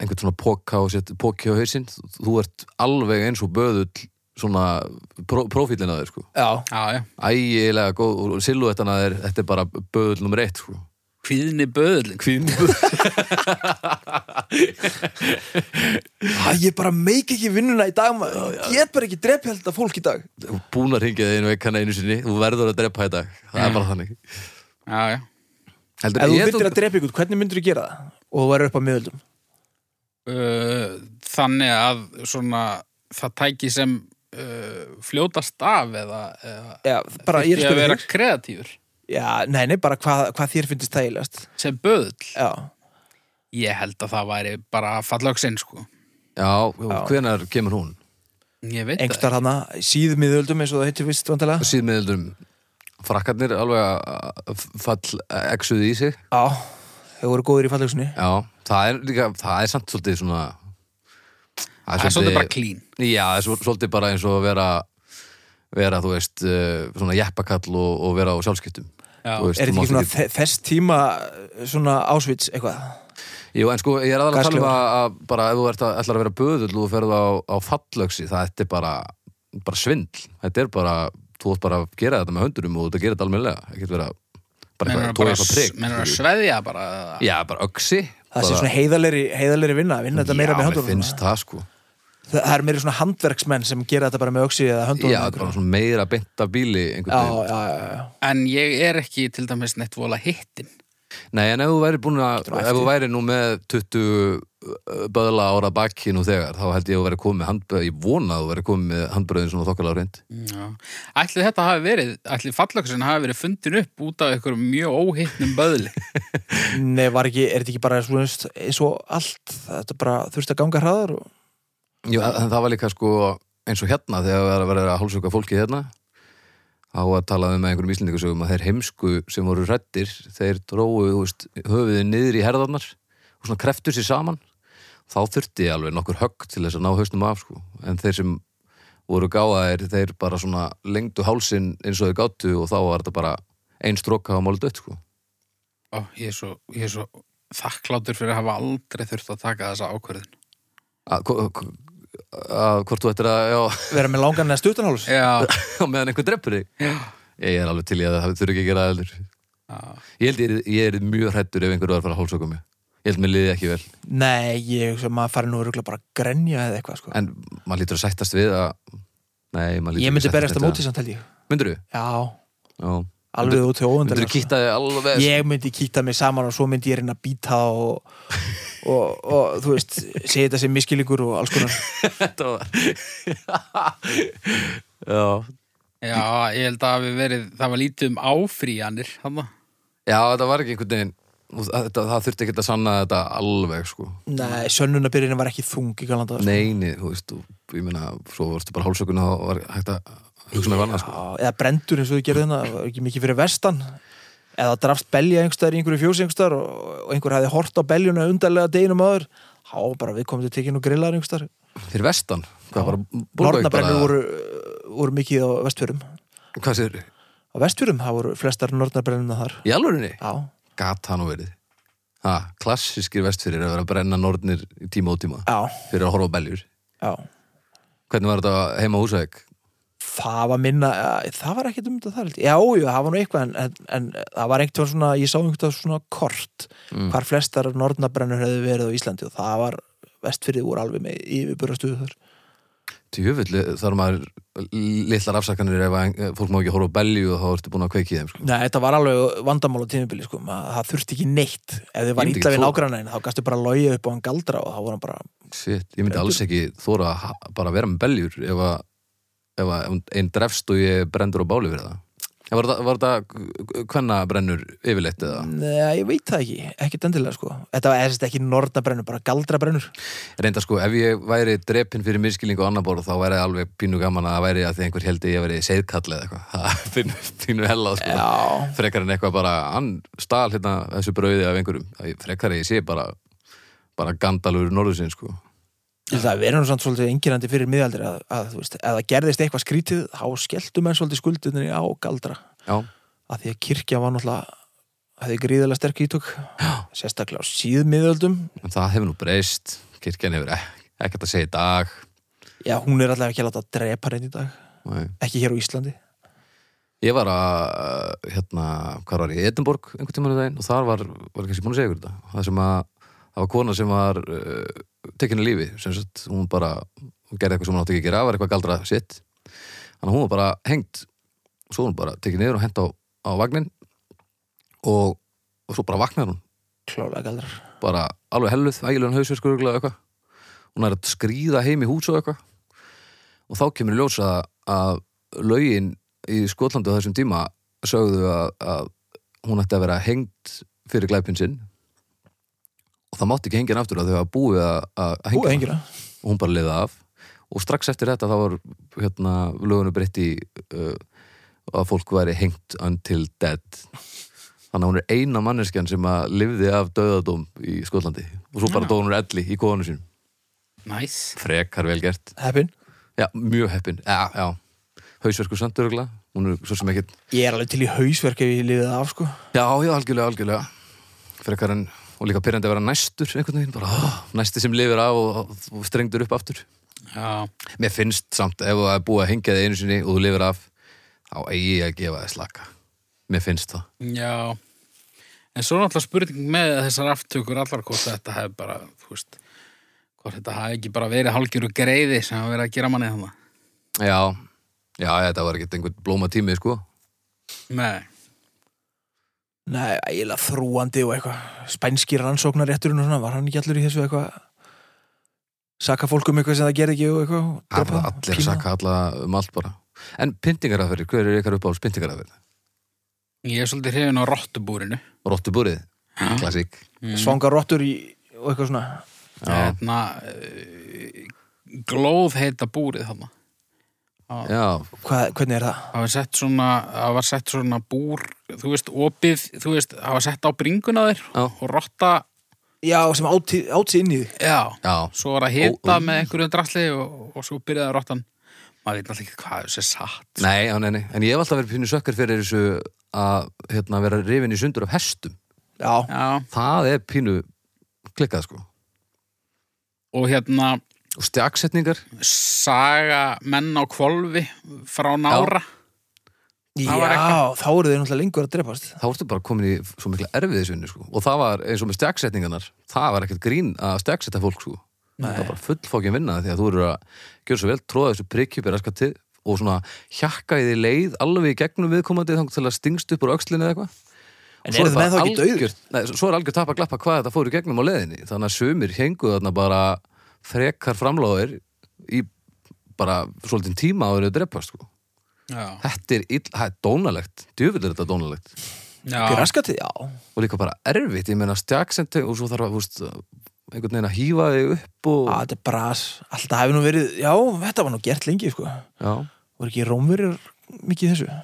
S3: einhvern svona póka og sett póki á hausinn þú ert alveg eins og böðull svona pró, prófílinn að þér sko.
S2: Já,
S1: Já, já.
S3: ægilega góð og silúettan að þér þetta er bara böðull nummer eitt sko.
S1: Kvíðni böðling.
S3: Kvíðnböðull
S2: Æ, ég bara meik ekki vinnuna í dag, maður. Ég get bara ekki drepa held að fólk í dag.
S3: búin að ringja þig einu veikana einu sinni þú verður að drepa þetta, það er bara þannig
S1: Já, já.
S2: Ef
S3: Heldur,
S2: þú
S3: ég
S2: myndir
S3: tók-
S2: að drepa ykkur, hvernig myndir þú gera það? Og þú væri upp á miðöldum.
S1: Uh, þannig að svona, það tæki sem uh, fljótast af eða, eða
S2: Já, bara
S1: Þyrfti að
S2: ég er að spila
S1: vera
S2: þig.
S1: kreatífur
S2: Já, nei, nei, bara hvað, hvað þér finnst þægilegast.
S1: sem böðl.
S2: Já.
S1: Ég held að það væri bara fallöksinn, sko.
S3: Já, hvenar kemur hún?
S1: Ég veit það.
S2: Engstar hana, síðmiðöldum eins og það heitir vist vantilega.
S3: Síðmiðlum frakkarnir alveg að að fall exuði í sig
S2: Já, þau voru góðir í fallegsunni.
S3: Já, það er líka, það er samt svolítið svona
S1: Það er svolítið bara clean.
S3: Já, það er svo- svolítið bara eins og að vera vera, þú veist, eh, svona jeppakall og, og vera á sjálfskiptum
S1: Já.
S3: Þú
S2: Er
S3: þú
S2: þetta
S3: mátt
S2: ekki svona þe- þess tíma eh, svona ásvits eitthvað?
S3: Jú, en sko, ég er aðalega að tala um
S2: Gasklegur.
S3: að, að bara ef þú ert að, ætlar að vera böðull og þú ferð á, á fallöksi, það þetta er bara, bara svindl. Þetta er bara, þú átt bara að gera þetta með höndurum og þú ert að gera þetta almennilega. Ekki vera bara
S1: Menur
S3: eitthvað,
S1: að
S3: tóra
S1: bara,
S3: eitthvað prigg.
S1: menur að
S3: skilurðu.
S1: sveðja bara. eða-
S3: Já, bara öksi.
S2: Það sé svona heiðalegri, heiðalegri vinna, vinna þetta meira með
S3: Já, mér
S2: höndunum.
S3: finnst það sko.
S2: Það það eru meira svona handverksmenn sem gera þetta bara með öksi eða
S3: Já,
S2: höndunum.
S3: þetta er bara svona meira beint af bíli
S2: já,
S3: einhvern
S2: já,
S3: veginn.
S2: já, já.
S1: En ég er ekki til dæmis neitt vola hittin.
S3: Nei, en ef þú væri búin að, ef þú væri nú með 20 böðla ára bakki nú þegar, þá held ég að þú væri komið handbröð, ég vona að þú væri komið með handbröðin svona þokkalega reynd.
S1: Já. Ætli þetta hafi verið, ætli fallöksinn hafi verið fundin upp út af einhverjum mjög óhittnum böðli.
S2: Nei, var ekki, er þetta ekki bara svona eins og allt, þetta bara þurfti að ganga hraðar og...
S3: Jú, en það var líka sko eins og hérna þegar það var að vera að hálsöka fólki hérna á að talaði um með einhverjum íslendingasögum að þeir heimsku sem voru rættir þeir dróu þú veist, höfuðið niður í herðarnar og svona kreftu sér saman þá þurfti alveg nokkur högg til þess að ná hausnum af sko en þeir sem voru gáðaðir þeir bara svona lengdu hálsin eins og þeir gátu og þá var þetta bara einn stróka á máli dött sko
S1: Ó, ég er svo, ég er svo þakklátur fyrir að hafa aldrei þurft að taka þessa ákvörðin.
S3: Að- hvo- hvo- að hvort þú ættir að já,
S2: vera með langan eða stuttanháls
S3: Eh.
S1: Já,
S3: á meðan einhver dreppur þig
S1: já.
S3: ég er alveg til í að það þurfi ekki að gera það heldur ég held ég er, ég er mjög hrættur ef einhver var að fara að hálsöka mig ég held mér liði ekki vel
S2: nei, ég hugsa að maður fari nú örugglega bara að grenja eða eitthvað sko.
S3: en maður lítur að sættast við að nei, maður lítur
S2: ég myndi
S3: að sættast
S2: berjast
S3: við
S2: að móti samt held ég
S3: myndir þú?
S2: já,
S3: Já.
S2: alveg út í
S3: myndir
S2: óvöndan
S3: þú kýtta þig alveg
S2: ég myndi kýta mig saman og svo myndi ég reyna að býta og, og, og þú veist segja þetta sem miskilingur og alls konar
S3: þetta var já
S1: Já, ég held að það hafi verið, það var lítið um áfríjanir, þannig.
S3: já, þetta var ekki einhvern veginn þetta, það þurfti ekki að sanna þetta alveg sko
S2: nei, sönnunabyrðin var ekki þung í sko. galanda
S3: neini, þú veist, þú, ég meina svo varstu bara hálsökun og var hægt að hugsa með vanna sko
S2: Já, eða brendur eins og þú gerði hérna var ekki mikið fyrir vestan eða drafst belja einhverstaðar í einhverju fjósi einhverstaðar og, og einhver hafði hort á beljuna undarlega deginum aður þá var bara við komum til tekinn og grillaðar einhverstaðar
S3: fyrir vestan, hvað bara Bolbæk
S2: nornabrennur
S3: bara-
S2: voru, voru mikið á vestfjörum á
S3: hvað séður,
S2: vestfjörum, það voru flestar nornabrennuna þar
S3: í alvörinni
S2: já,
S3: gat hann og verið ha, klassískir vestfyrir að vera að brenna nornir í tíma og tíma
S2: já,
S3: fyrir að horfa á beljur
S2: já
S3: hvernig var þetta heima á húsæk
S2: það var minna, ja, það var ekkert um þetta þar held ég. já, já, það var nú eitthvað en, en, en það var einhvern svona, ég sá einhvern svona kort hvar flestar nornabrennur hefðu verið á Íslandi og það var vestfyrið voru alveg með yfirburastuðu þar
S3: tjöfull þar maður litlar afsakanir ef að ein- fólk má ekki horfa á belju og þá ertu búin að kveiki þeim sko.
S2: Nei, þetta var alveg vandamál á tímubili sko. Ma, það þurfti ekki neitt ef þið var
S3: Ég myndi
S2: ítla
S3: ekki
S2: við
S3: þora.
S2: nágrannin þá gastu bara að logja upp á hann galdra og þá voru hann bara
S3: Shit, ég myndi alls ekki þóra að ha- bara vera með beljur ef að, ef að einn drefst og ég brendur á báli fyrir það En var þetta, var þetta hvenna brennur yfirleitt
S2: Ah.
S3: eða?
S2: Nei, ég veit það ekki, ekkert endilega sko Þetta var eðsist ekki nornabrennur, bara galdrabrennur
S3: Reynda sko, ef ég væri drepin fyrir miskilning og annar borð, þá væri alveg pínu gaman að það væri að því einhver heldi ég væri seiðkall eða eitthvað. Það pínu, pínu hella sko.
S2: Já,
S3: Frekar en eitthvað bara, hann stal hérna þessu brauði af einhverjum. Það- Frekar en ég sé bara, bara gandalur norðusinn sko.
S2: Ég held að það verður nú samt svolítið engirandi fyrir miðaldri að, að þú veist, ef það gerðist eitthvað skrítið þá skelltum enn svolítið skuldunni á galdra
S3: Já,
S2: að því að kirkja var náttúrulega að því gríðilega sterk ítök sérstaklega á síðmiðöldum
S3: en það hefur nú breyst. Kirkjan hefur ek- ekkert að segja í dag.
S2: já, hún er allavega ekki að láta að drepa reynd í dag
S3: Nei.
S2: ekki hér á Íslandi
S3: Ég var að, hérna, hvað var ég, í Edinborg einhvern tímann í daginn og þar var, var kannski búin að segja ykkur þetta. Það sem að, það var kona sem var uh, tekinu lífi, sem sagt, hún bara, hún gerði eitthvað sem hún átti ekki að gera, var eitthvað galdra sitt. Þannig að hún var bara hengt, svo var hún bara tekið niður og hent á, á vagnin og, og svo bara vaknaði hún,
S2: klálega galdrar
S3: bara alveg helluð, ægilegan hausverkur og eitthvað. Hún er að skríða heim í hús og eitthvað og þá kemur í ljós að, að lögin í Skotlandu á þessum tíma sögðu að, að hún ætti að vera hengt fyrir glæpin sinn og það mátti ekki hengja hana aftur að þau hafa búið að, að
S2: Búið
S3: hengja hana.
S2: hengjuna
S3: og hún bara liða af og strax eftir þetta þá var hérna, lögunu breytti uh, að fólk væri hengt until dead þannig að hún er eina manneskjan sem að lifði af döðadóm í Skotlandi og svo bara dó hún er elli í konu sín
S1: Næs.
S3: frekar vel gert
S2: Heppin
S3: Já, mjög heppin, já, já Hausverku sandurugla, hún er svo sem ekkit
S2: Ég er alveg til í hausverk ef ég liðið af sko
S3: Já, já, algjörlega, algjörlega Frekar en, og líka pyrrandi að vera næstur einhvern veginn, bara "Ah, næsti sem lifir af og, og strengdur upp aftur
S1: Já,
S3: Mér finnst samt, ef það er búið að hengja þig einu sinni og þú lifir af þá eigi ég að gefa þig slaka Mér finnst það
S1: já. En svo er náttúrulega spurning með þessar aftökur allar hvort þetta hefði bara, þú veist, hvort þetta hefði ekki bara verið hálgjur og greiði sem hafa verið að gera manni þannig.
S3: Já, já, þetta var ekkit einhvern blóma tími, sko
S1: Nei.
S2: Nei, ægilega þrúandi og eitthvað Spænski rannsóknarétturinn og svona Var hann ekki allur í þessu eitthvað Saka fólk um eitthvað sem það gerði ekki og eitthvað og
S3: Það
S2: dropa
S3: var
S2: það,
S3: allir að
S2: pína það.
S3: saka alla um allt bara En pyntingaraferir, hver er ykkar uppáhalds pyntingaraferir?
S1: Ég er svolítið hrifin á rottubúrinu.
S3: Rottubúrið, klassík
S2: Svangar rottur í og eitthvað svona
S1: Þarna, uh, glóð heita búrið þarna.
S3: Já,
S2: Hvað, Hvernig er það?
S1: Það var sett svona, það var sett svona búr, þú veist, opið, þú veist, það var sett á bringuna þér
S3: Já.
S1: og rotta,
S2: Já, sem átti, átti inn í þig
S1: já,
S3: já
S1: svo var að hita
S3: Ó, ó.
S1: með einhverju drasli og, og svo byrjaði rottan. Maður veit náttúrulega ekki hvað þessi er satt.
S3: Nei, já, nei, nei, en ég hef alltaf verið pínu sökkar fyrir þessu að hérna, vera rifin í sundur af hestum
S2: já,
S1: Já,
S3: það er pínu klikkað sko
S1: og hérna
S3: og stjaksetningar,
S1: saga menn á kvolfi frá nára.
S2: já,
S1: Það var eitthvað.
S2: þá eru þeir náttúrulega lengur að drepast
S3: þá ertu bara komin í svo mikla erfiðisvinni sko og það var eins og með stjaksetningarnar það var ekkert grín að stjaksetta fólk sko það var bara fullfókin vinna því að þú eru að gjöra svo vel, tróða þessu prikkjupir til og svona hjakka í því leið alveg í gegnum viðkomandi þang til að stingst upp úr öxlinni eða eitthvað
S2: En
S3: Svo
S2: eru þið
S3: bara
S2: með þá ekki dauðir?
S3: algjört- Nei, svo- svo er algjör tapa glappa hvað þetta fór í gegnum á leiðinni þannig að sumir hengu þarna bara frekar framlóðir í bara svolítið tíma áður að drepa sko.
S1: Já.
S3: þetta er, ill, það er dónalegt djöfull er þetta dónalegt
S2: Ekki
S1: Já.
S2: raskatið, já
S3: og líka bara erfitt, ég meina stjaksendi og svo þarf að, þú veist, einhvern veginn að hýfa þig upp og
S2: Á, Ah, Þetta er bras, alltaf hefur nú verið Já, þetta var nú gert lengi, sko
S3: já,
S2: Voru ekki rómverjur mikið í þessu?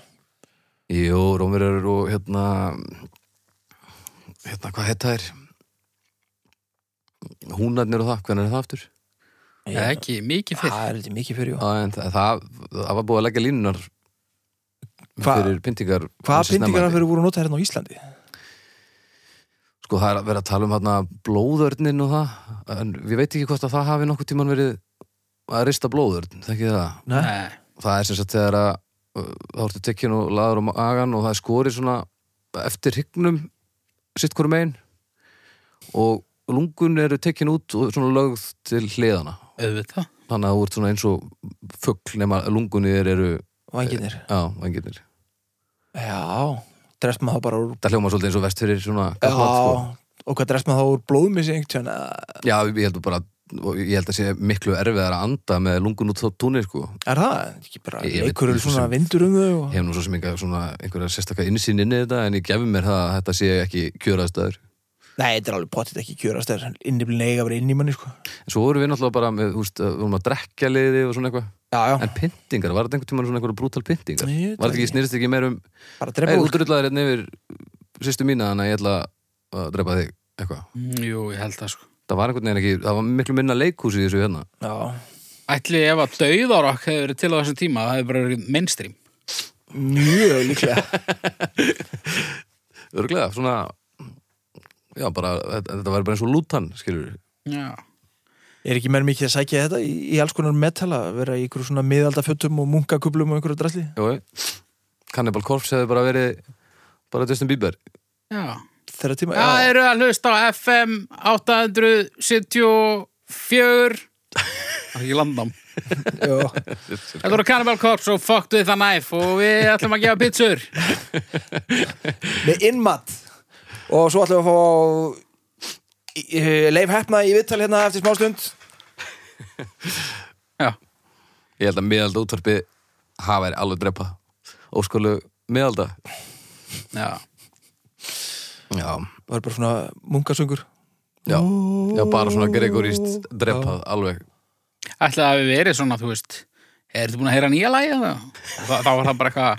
S3: jú, rómverjar og hérna hérna, hvað heita þær húnarnir og það, hvernig er það aftur?
S1: Já, Ekki mikið fyrr.
S2: Það Ah, er eitthvað mikið fyrir, já
S3: Já, en það, það, það var búið að leggja línunar
S2: Hva-
S3: fyrir pyntingar
S2: Hvaða
S3: ansi snemma.
S2: pyntingar fyrir voru notaðir hérna á Íslandi?
S3: Sko það er að vera að tala um hérna blóðörnin og það en við veit ekki hvort að það hafi nokkuð tíman verið að rista blóðörn, þekki það
S2: Nei,
S1: Nei.
S3: það er sem sagt þegar að uh, þá ertu tekkin og laður á magan og það er skorið svona eftir hyggnum sitt hverju megin og lungun eru tekkin út og svona lögð til hliðana
S1: Auðvitað.
S3: þannig að þú ert svona eins og fugl nema lungunni þér eru
S2: vanginir
S3: já, vengirnir
S2: Já, dress maður þá bara úr
S3: það hljóma svolítið eins og vest fyrir svona
S2: Já,
S3: kappát, sko.
S2: og hvað dress maður þá úr blóðmissi einhvern veginn,
S3: já, ég held bara og ég held að sé miklu erfiðar að anda með lungun út á túnir sko
S2: er það? Ekki bara
S3: Ég- ég veit
S2: leikur
S3: ekki
S2: eru svona
S3: sem-
S2: vindur um þau og...
S3: hef nú svo sem enga svona einhverja sérstaka innsýn inn í þetta en ég gefi mér það að þetta sé ekki kjöraðstæður
S2: Nei, þetta er alveg potið ekki kjörast þegar inniblin eiga að vera inn í manni sko.
S3: en svo vorum við náttúrulega bara með, þú veist, við vorum að drekja liði og svona eitthvað,
S2: Já, já,
S3: en pyntingar var þetta einhvern tímann svona einhverja brútal pyntingar
S2: Nei, ég veit
S3: var þetta
S2: það
S3: ekki, snýrist ekki meir um
S2: bara
S3: ei,
S2: drepa
S3: þú
S2: úr
S3: drullar hérna yfir sýstu mína þannig að ég ætla að drepa þig eitthvað,
S1: Mm, Jú, ég held það sko.
S3: það var einhvern veginn ekki það var miklu minna leikhús í þessu hérna
S2: Já,
S1: Ætli ef að dauðarokk hefur verið til á þessum tíma, það hefur bara verið mainstream.
S2: mjög líklega
S3: örglega, svona já, bara, þetta, þetta var bara eins og lútan skilur
S1: Já.
S2: Er ekki mér mikið að sækja þetta í, í alls konar metala vera í ykkur svona miðaldafjötum og munkakublum og einhverju drasli?
S3: Jói, Cannibal Corpse hefði bara verið bara Justin Bieber
S1: Já.
S2: Þeirra tíma,
S1: Það eru að hlusta á FM 874 Það er ekki landam
S2: já.
S1: Þetta voru Cannibal Corpse og Fucked with a Knife og við ætlum að gefa pitsur
S2: með innmat og svo ætlum við að fá í- í- Leif Heppna í vittal hérna eftir smástund
S1: Já,
S3: ég held að miðalda útvarpi hafa verið alveg drepa óskólu miðalda
S1: já,
S3: já,
S2: Það var bara svona munkasöngur
S3: já, já bara svona gregoríst drepað alveg
S1: ætlaði að við verið svona, þú veist Er þetta búin að heyra nýja lagið það? Þá þá var það bara eitthvað,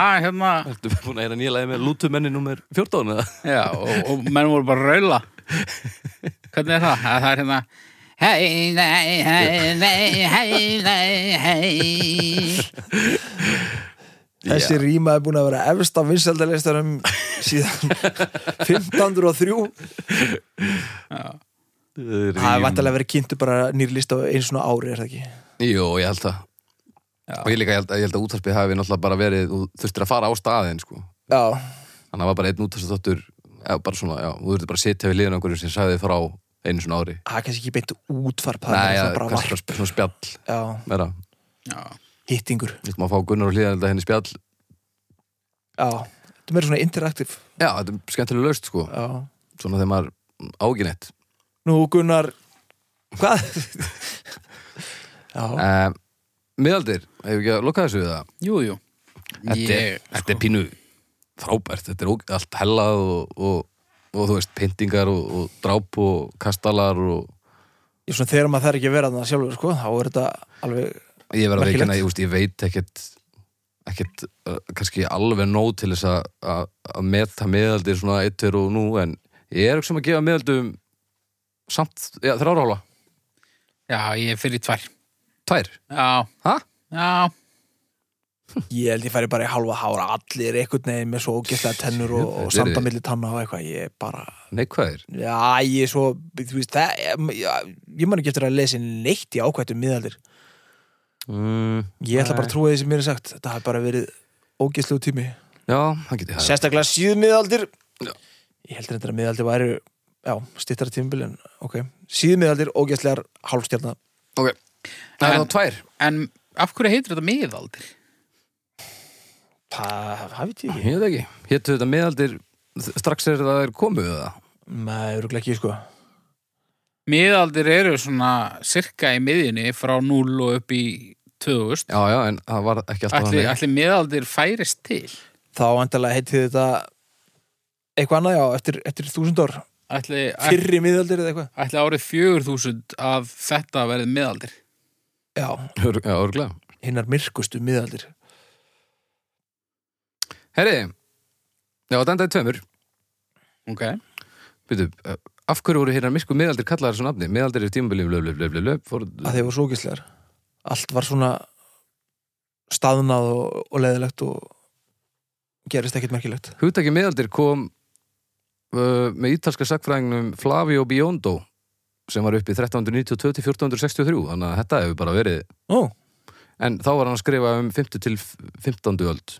S1: að hérna
S3: Ertu búin að heyra nýja lagi með lútumenni nummer 14 eða?
S1: Já, og, og menn voru bara að raula Hvernig er það? Að Það er hérna Hei, nei, hei, nei, hei, nei, hei
S2: Þessi rýma er búin að vera efst á vinsaldalistarum síðan 1503 Það er vantilega verið kynntu bara nýr list á einu svona ári er það ekki
S3: Jú, ég held það og ég líka, ég held, ég held að útvarpi hafi náttúrulega bara verið þú þurftir að fara á staðin sko
S2: Já,
S3: þannig að það var bara einn útvarstáttur bara svona, já, þú þurftir bara að sitja við liðin á einhverjum sem sagði þér frá einu svona ári
S2: það er kannski ekki beint útvarp það
S3: Nei,
S2: er
S3: já,
S2: náttúrulega bara
S3: kannski
S2: varp
S3: bara svona spjall
S2: Já,
S3: meira,
S1: Já,
S2: hittingur
S3: við ætlum að fá Gunnar og hlýða þetta henni spjall
S2: Já, þetta er meira svona interaktiv
S3: Já, þetta er skemmtilega löst sko
S2: Já
S3: svona þegar maður mm, áginett
S2: Nú Gunnar Hvað? Já,
S3: uh, Miðaldir, hefur ekki að loka þessu við það
S1: jú, jú
S3: Þetta, er,
S1: Ég,
S3: þetta er pínu frábært, þetta er ó- allt hellað og, og, og þú veist, pyntingar og, og dráp og kastalar og
S2: ég svona þegar maður þarf ekki að vera þannig sjálfur sko, þá er þetta alveg
S3: ég verð að
S2: Merkilegt.
S3: veikina, ég, úst, ég veit ekkert ekkert, uh, kannski alveg nóg til þess að- að að meta miðaldir svona eittir og nú en ég er ekki sem að gefa miðaldum samt, já, þrjára hálfa
S1: já, ég er fyrir tvær
S3: tvær,
S1: Já,
S3: ha?
S1: já
S2: Ég held ég færi bara í halva hára allir einhvern veginn með svo ógæslega tennur og, og
S3: Verið-
S2: sandamilli tanna og eitthvað ég bara,
S3: neikvæðir
S2: já ég er svo þú veist, það, ég, ég man ekki eftir að lesa neitt í ákvættum miðaldir
S3: mm,
S2: ég ætla bara
S3: Nei.
S2: að trúa því sem mér er sagt þetta hafi bara verið ógæslegu tími
S3: já, það geti það
S2: sérstaklega síðmiðaldir
S3: Já.
S2: ég heldur þetta að miðaldir væri já, stittara tímabil en ok síðmiðaldir, ógæslegar, hálfstjarnar
S3: ok, það er
S1: En-
S3: þá tvær
S1: En af hverju heitir þetta miðaldir?
S2: það hafið ég ekki
S3: ég veit ekki, héttu þetta miðaldir strax er það er komuð eða
S2: með öruglega ekki sko
S1: Miðaldir eru svona sirka í miðjunni frá 0 og upp í 2000.
S3: já, já, en það var ekki alltaf
S1: Ætli,
S3: þannig.
S1: ætli miðaldir færist til?
S2: þá endalega heitið þetta eitthvað annað já, eftir, eftir þúsund ár
S1: Ætli, ætli,
S2: fyrri miðaldir eða eitthvað
S1: ætli árið 4000 að þetta verið miðaldir?
S2: já,
S3: Ör- já, örglega
S2: hinnar myrkustu miðaldir
S3: herri, já, þetta endaði tveimur
S1: Ok.
S3: Býtu, eh, af hverju voru hérna misku miðaldir kallaðar þessu nafni? Miðaldir er tímabili blöf, blöf, blöf, blöf, blöf fór,
S2: að þeir voru svo ógæslegar allt var svona staðnað og, og leðilegt og gerist ekkert merkilegt
S3: Hugtaki miðaldir kom uh, með ítalska sagfræðingnum Flavio Biondo sem var upp í 1392-1463 þannig að þetta hefur bara verið
S2: ó,
S3: en þá var hann að skrifa um 50 til 15. öld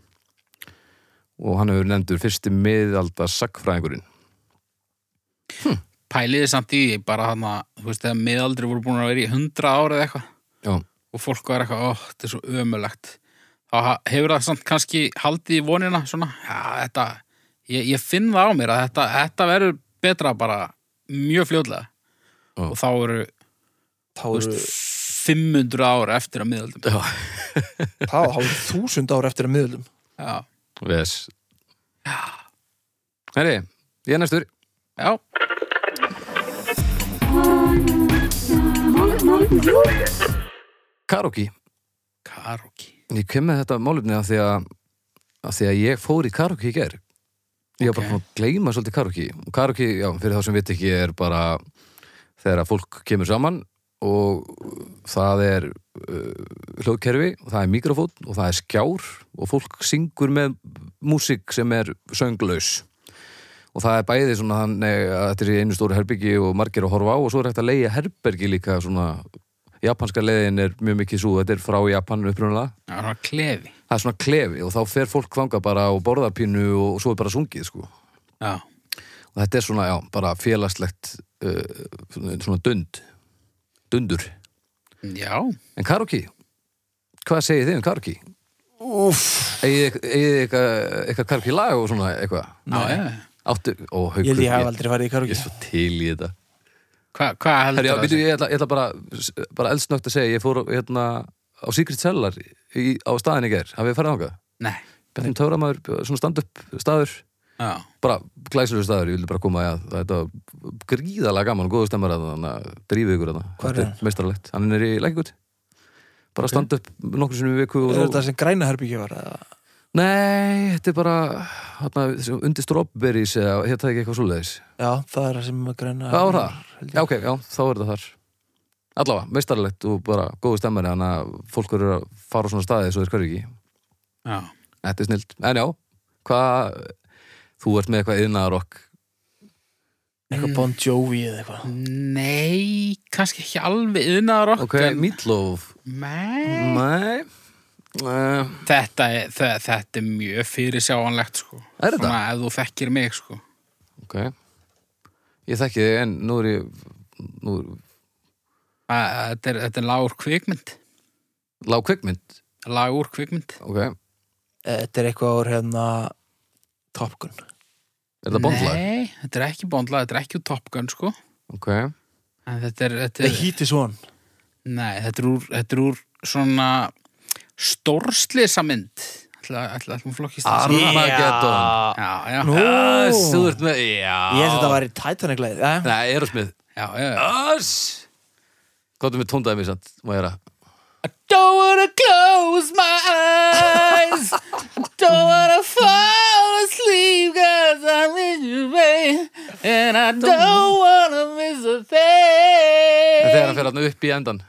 S3: og hann hefur nefndur fyrsti miðalda sagfræðingurinn
S1: Pæliði samt í því bara hann að, þú veist, þegar miðaldir voru búin að vera í 100 ár eða eitthvað
S3: Já,
S1: og fólk var eitthvað, ó, þetta er svo ömulegt. Þá ha- hefur það samt kannski haldið í vonina svona, já, þetta, ég, ég finn það á mér að þetta, þetta verður betra bara mjög fljótlega.
S3: Já.
S1: Og þá eru
S2: þá
S1: þú
S2: eru
S1: veist, 500 ára eftir að miðaldum
S3: Já.
S2: þá hafði þúsund ár eftir að miðlum
S1: Já.
S3: ves Herri, ég er næstur
S1: Já.
S3: Karoki
S1: Karoki
S3: Ég kem með þetta málefni af því að, að því að ég fór í karaoke í ger Ég var bara
S1: Ok.
S3: búin að gleyma svolítið karaoke og karaoke, já, fyrir þá sem veit ekki er bara þegar að fólk kemur saman og það er uh, hljóðkerfi og það er mikrofón og það er skjár og fólk syngur með músík sem er sönglaus og það er bæði svona þannig að þetta er í einu stóru herbyggi og margir að horfa á og svo er hægt að leigja herbergi líka svona japanska leiðin er mjög mikið svo þetta er frá Japan upprunalega
S1: Já, hann var klefi
S3: það er svona klefi og þá fer fólk þanga bara og borðar pínu og svo er bara sungið sko. og
S1: Já.
S3: þetta er svona, já, bara félagslegt uh, svona svona dund dundur
S1: Já.
S3: en karaoke, hvað segir þið um karaoke?
S2: Úff,
S3: Egið þið eitthvað, eitthvað karaoke lag og svona eitthvað?
S1: Já, já.
S3: Áttu, ó, haukur,
S2: ég held ég hef aldrei farið í
S3: ég
S2: karaoke
S3: er svo til í þetta
S1: Hva, hvað heldur
S3: Herri, já,
S1: það
S3: býtu,
S1: sé?
S3: ég ætla, ég ætla bara, bara eldsnögt að segja, ég fór hérna, á Secret Cellar í, á staðin í ger, hafið þið farið þangað?
S1: Nei.
S3: Bjarni Töframæður, svona stand-up staður
S1: Já.
S3: bara glæsilegu staður, ég vildi bara koma að þetta var gríðalega gaman og góðu stemmar að þannig að drífið ykkur að
S2: Hvar er
S3: það
S2: hann?
S3: meistarlegt, hann er í lækingut bara standa upp nokkur sinni í viku og
S2: er
S3: svo-
S2: þetta sem græna herbyggja var eða?
S3: nei, þetta er bara hana, undir strawberries eða hér það ekki eitthvað svoleiðis
S2: já, það er það sem græna
S3: hvað var það? Já, ok, já, þá er það þar allavega, meistarlegt og bara góðu stemmar þannig að fólk eru að fara á svona staði svo þeir hverju ekki,
S1: Já.
S3: þetta er snilt en já, hvað þú ert með eitthvað yðnaðarokk
S2: eitthvað Bon Jovi eða eitthvað
S1: Nei, kannski ekki alveg yðnaðar okk
S3: ok,
S1: en...
S3: meatloaf
S1: Nei.
S3: Nei uh,
S1: Þetta er, þe- þetta er mjög fyrir sjáanlegt sko.
S3: Er þetta?
S1: Svona ef þú þekkir mig sko.
S3: Ok Ég þekki þig en nú er ég nú er
S1: Æ, Þetta er, þetta er lágur kvikmynd
S3: lág kvikmynd
S1: Lágur kvikmynd
S3: Ok, er
S2: þetta er eitthvað úr hérna Top Gun
S3: það bondlag?
S1: Nei, þetta er ekki bondlag, þetta er ekki úr Top Gun sko.
S3: Ok,
S1: En þetta er, þetta
S2: The
S1: er
S2: Heat is On
S1: Nei, þetta er úr, þetta er úr svona stórsleisa mynd Ætla að hún flokkist það saman?
S3: Armageddon
S1: Já, já,
S2: Nú.
S3: Öss, Ah, þú ert með
S2: ég held að þetta
S3: Já
S2: var í Titanic leið ja?
S3: Nei, Erosmith
S1: já, já, já.
S3: Öss Kóttu með tóndaði mér samt Má ég gera
S1: I don't wanna close my eyes I don't wanna fall asleep Cause I'm in your way And I don't wanna miss a
S3: En
S1: thing
S3: þegar hann fer hann upp í endan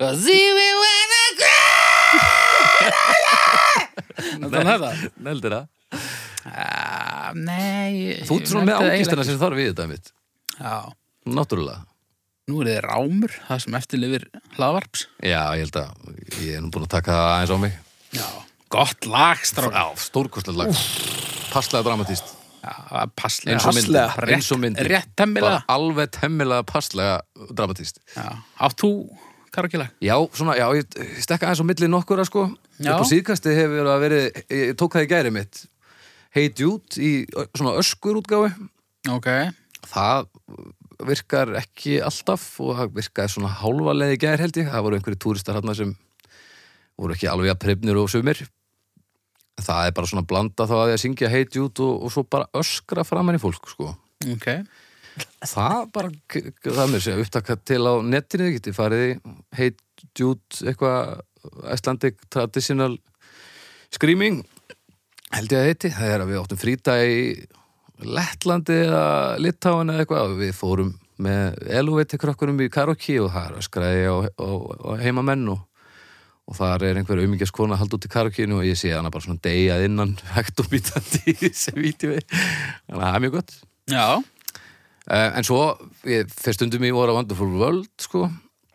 S1: Cause even when I cry Þetta er það.
S3: Neldir það?
S1: Ah, Nei.
S3: Þú ert svona
S1: ég
S3: með
S1: held það
S3: ágistina
S1: eiginlega
S3: sem þarf við þetta mitt.
S1: ekki. Já.
S3: Náttúrulega.
S1: Nú er þið rámur, það sem eftirlifir hlaðvarps.
S3: Já, ég held að ég er nú búin að taka það aðeins á mig.
S1: Já. Gott lag, stráð.
S3: Já, stórkostlega lag. Passlega dramatíst.
S1: Já, passlega.
S3: Eins og myndin.
S2: Passlega.
S1: Rétt-
S3: Eins og myndin.
S1: rétt temmilega.
S3: Bara Alveg temmilega passlega dramatíst.
S1: Já. Átt þú, Karakila?
S3: Já, svona, já, ég ég stekka aðeins á milli nokkura, sko.
S1: Já.
S3: Upp á síðkasti hefur það verið, ég ég tók það í gæri mitt. Hey Jude í ö- svona öskur útgáfi.
S1: Ok.
S3: það virkar ekki alltaf og það virkaði svona hálfa leið í gær held ég, það voru einhverju túristar hann sem voru ekki alveg að prifnir og sumir það er bara svona blanda þá að ég að syngja heit út og, og svo bara öskra framann í fólk sko.
S1: Ok.
S3: það bara, það er mér sem upptaka til á netinu, þið getið farið í heit út eitthvað Icelandic traditional screaming held ég að heiti, það er að við áttum fríta í Lettlandi eða Litáin eða eitthvað, við fórum með eluveit til krökkunum í karaoke og það er öskraði á, á, á heimamenn og, og þar er einhver aumingaskona hald út í karaokeinu og ég sé hana bara svona deyjað innan hægt og býtandi í þessi vídeo þannig að það er mjög gott
S1: Já.
S3: Eh, en svo, ég, fyrst undum ég voru á Wonderful World, sko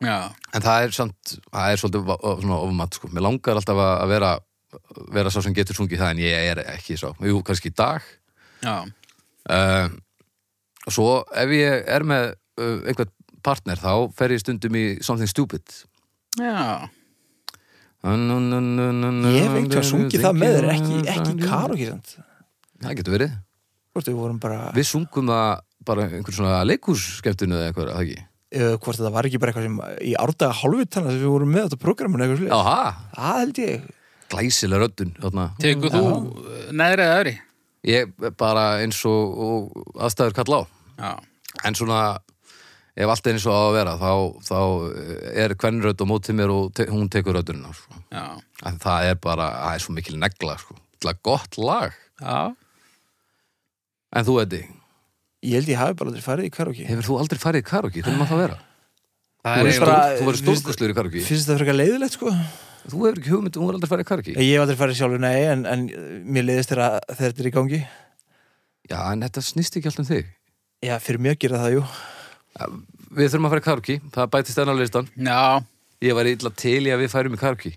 S1: Já.
S3: en það er samt, það er svolítið va- o- svona ofumatt, sko, mér langar alltaf að að vera vera sá sem getur sungið það en ég er ekki sá, jú, kannski í dag
S1: Já.
S3: Eh, og svo ef ég er með uh, einhvern partner þá fer ég stundum í Something Stupid
S1: Já.
S3: Ég
S2: Ég hef einhvern sungið það með þér, ekki, ekki karaoke samt.
S3: Það getur verið,
S2: Hvort við vorum bara,
S3: við sungum það bara einhvern svona leikússkeptinu eða eitthvað, er það ekki?
S2: uh, hvort þetta var ekki bara eitthvað sem í árdaga hálfutana sem við vorum með þetta programmun eitthvað slið.
S3: Jaha,
S2: Það held ég.
S3: glæsileg röddun þarna.
S1: Tekur þú eh, neðri eða öðri?
S3: Ég bara eins og, og aðstæður kalla á.
S1: Já.
S3: En svona, ef allt er eins og á að vera, þá, þá eh, er kvennrödd á móti mér og te hún tekur röddunina. Sko.
S1: Já.
S3: En það er bara, það er svo mikil negla, sko. Það er gott lag.
S1: Já.
S3: En þú, Eddi,
S2: Ég held ég hafi bara aldrei farið í karaoke.
S3: hefur þú aldrei farið í karaoke? Hvernig maður það vera?
S1: Það
S3: Þú
S1: er
S3: verður
S1: eiginlega...
S2: bara-
S3: stór- þú verður
S2: finnst-
S3: stórkostlur í karaoke.
S2: Finnst þetta frekar leiðilegt sko?
S3: Þú hefur ekki hugmynd, um þú verður aldrei farið í karaoke.
S2: Ég hef aldrei farið sjálfur, nei, en, en mér leiðist þegar að- þegar þetta er í gangi.
S3: Já, en þetta snýst ekki allt um þig.
S2: Já, fyrir mjög gera það, jú.
S3: Við þurfum að fara í karaoke, það bætist enn á listan.
S1: Já.
S3: Ég var illa til í að við færum í karaoke.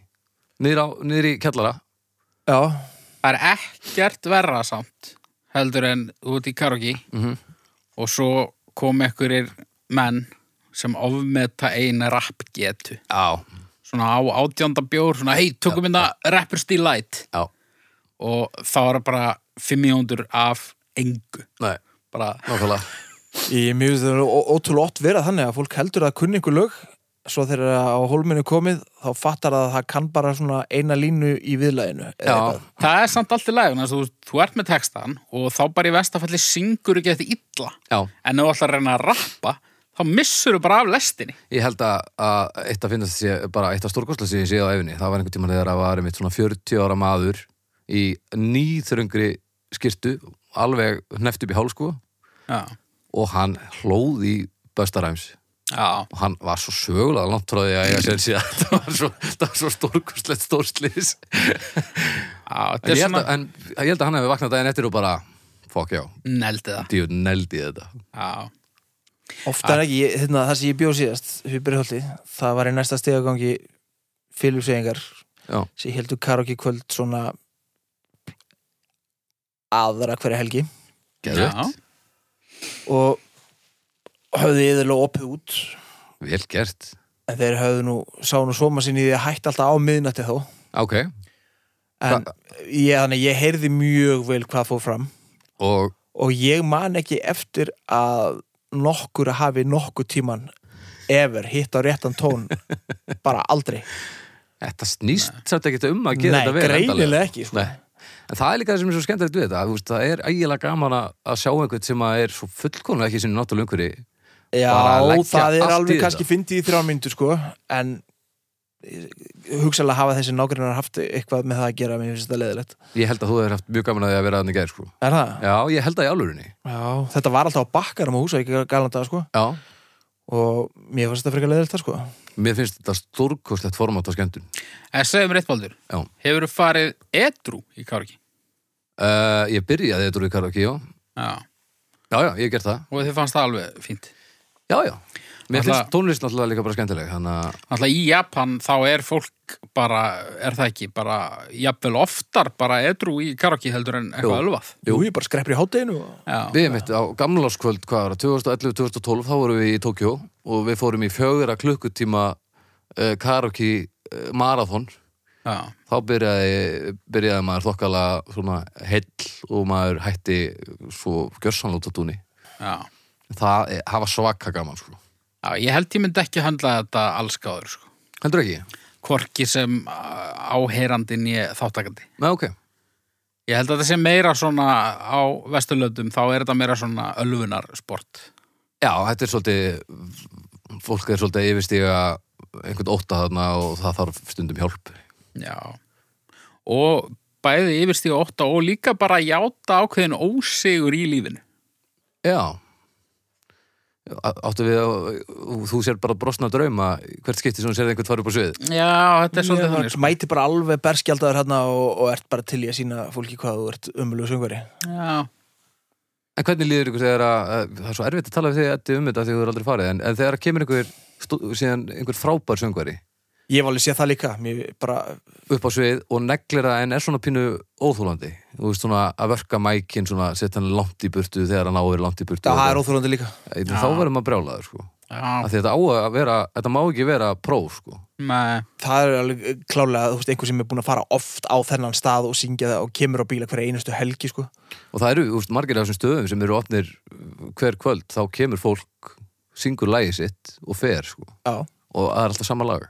S3: Niður, á, niður í kjallara.
S2: Já,
S1: Það er ekkert verra samt heldur en út í karaoke
S3: Mhm.
S1: og svo kom einhverjir menn sem ofmeta eina rappgetu
S3: Já,
S1: svona á átjánda bjór svona hei, tökum minna Rappers Delight
S3: já.
S1: og þá er bara 500 af engu
S3: Nei,
S1: bara,
S3: nákvæmlega
S2: ég mjög finnst það ó- ótrúlega oft vera þannig að fólk heldur að það kunni ykkur lög svo þegar það á hólminu er komið þá fattar það að það kann bara svona eina línu í viðlæðinu eða
S3: Já,
S2: eitthvað.
S1: það er samt allt í lagi, þannig að þú, þú ert með textan og þá bara í vestafalli syngur ekki þetta illa
S3: já,
S1: en ef þú ætlar að reyna að rappa þá missur þú bara af lestinni
S3: ég held að, að eitt að finnast sé, bara eitt að stórkostlega sé ég séð á efni það var einhvern tímann þegar að var einmitt svona 40 ára maður í nýþröngri skirtu, alveg hneft upp í hálf sko
S1: Já,
S3: og hann hlóð í Böstaræms
S1: já,
S3: og hann var svo sögulega langt frá því að ég sér sér að það var svo, það var svo stórkostlegt stórslis
S1: já þetta
S3: en
S1: er
S3: ég, held að,
S1: svona
S3: en ég held að hann hefði vaknað daginn eftir og bara, fuck já,
S1: neldið það
S3: dýur neldi þetta
S1: Já,
S2: Oftar en ekki, ég- hérna, það sem ég bjóð síðast Huberiholti, það var í næsta stegagangi fylgjusegingar
S3: Já.
S2: sem heldur karaoke kvöld svona aðra hverja helgi
S1: já,
S3: Geðveikt.
S2: og höfðu yfirlega opið út
S3: vel gert,
S2: en þeir höfðu nú, sá nú sóma sinni í því að hætta alltaf á miðnætti þó
S3: ok
S2: en ég, þannig, að ég heyrði mjög vel hvað fór fram
S3: og
S2: og ég man ekki eftir að nokkur hafi nokkur tíman ever hitt á réttan tón bara aldrei
S3: Þetta snýst samt ekkert um að gera
S2: Nei,
S3: þetta vel endanlega.
S2: greinilega ekki sko.
S3: Nei. En það er líka það sem er svo skemmtilegt við þetta þú veist, Það er ægilega gaman að að sjá einhvern sem að er svo fullkona ekki sinni náttúrulega umhverju
S2: Já,
S3: Bara að leggja
S2: það er
S3: allt í
S2: alveg
S3: þetta.
S2: kannski fyndið í þrjá myndu sko, en hugsalega hafa þessi nágrinnar haft eitthvað með það að gera, mér finnst þetta leðilegt
S3: Ég held að þú hefur haft mjög gaman að því að vera þannig gæðir sko.
S2: Er það?
S3: Já, ég held að í álurinni
S2: Já, þetta var alltaf á bakkarum á húsa, ekki galanda sko
S3: Já,
S2: og mér fannst þetta frekar leðilegt sko
S3: Mér finnst þetta stórkostlegt format á skemmtun.
S1: En segjum rétt baldur,
S3: Já.
S1: hefur þú farið edru í Kárki?
S3: Uh, ég byrjaði þetta úr í karaoke, já.
S1: Já,
S3: Já, já, ég hef gert það.
S1: og þið fannst það alveg fínt.
S3: Já, já. Mér
S1: Alla-
S3: finnst tónlist náttúrulega líka bara skemmtileg, þannig að
S1: Alltaf í Japan þá er fólk bara, er það ekki, bara jafnvel oftar bara edru í Kárki heldur en eitthvað
S3: Jú.
S1: ölvað.
S2: Jú, ég bara skreppir í hátteginu og...
S1: Já,
S3: Við mitt á gamláskvöld, hvað var það, 2011-2012, þá vorum við í Tókjó og við fórum í fjögurra klukkutíma uh, karaoke uh, marathon.
S1: já,
S3: Þá byrjaði, byrjaði maður þokkala svona heill og maður hætti svo gjörsanlóta dúni.
S1: já.
S3: Það er, hafa svaka gaman, sko.
S1: Já, ég held ég myndi ekki höndla þetta allskáður, sko.
S3: Heldur ekki?
S1: Hvorki sem uh, áheyrandi nýja þáttakandi.
S3: Nei, ok.
S1: Ég held að þetta sé meira svona á vesturlöndum, þá er þetta meira svona ölfunarsport.
S3: Já, þetta er svolítið, fólk er svolítið að yfirstíga einhvern óta þarna og það þarf stundum hjálp.
S1: Já. Og bæði yfirstíga 8 og líka bara játa ákveðin ósigur í lífinu.
S3: Já Á- Áttu við að þú sér bara brosna drauma hvert skipti sem þú sér einhvern fara upp á svið
S1: Já, þetta er svolítið þannig.
S2: Ég mæti bara alveg berskjaldaður hérna og, og ert bara til í að sína fólki hvað þú ert umjölu söngveri
S1: sko. Já.
S3: En hvernig líður ykkur þegar að að- það er svo erfitt að tala við þig Eddi um þetta þegar þú er aldrei farið en, en þegar kemur einhver, stú, síðan einhver frábær söngvari
S2: Ég var alveg séð það líka Mér bara,
S3: upp á svið og neglir það en er svona pínu óþólandi þú veist svona að verka mækin svona setja hann langt í burtu þegar hann áður langt í burtu
S2: það er óþólandi líka
S3: Þá verður maður brjálaður sko
S1: Já,
S3: að þetta á að vera, þetta má ekki vera próf sko
S1: með,
S2: Það er alveg klálega, þú veist, einhver sem er búin að fara oft á þennan stað og syngja það og kemur á bíla hverja einustu helgi, sko
S3: Og það eru úst, margir af þessum stöðum sem eru opnir uh, hver kvöld, þá kemur fólk, syngur lagið sitt og fer, sko.
S2: Já,
S3: Og það er alltaf sama lag.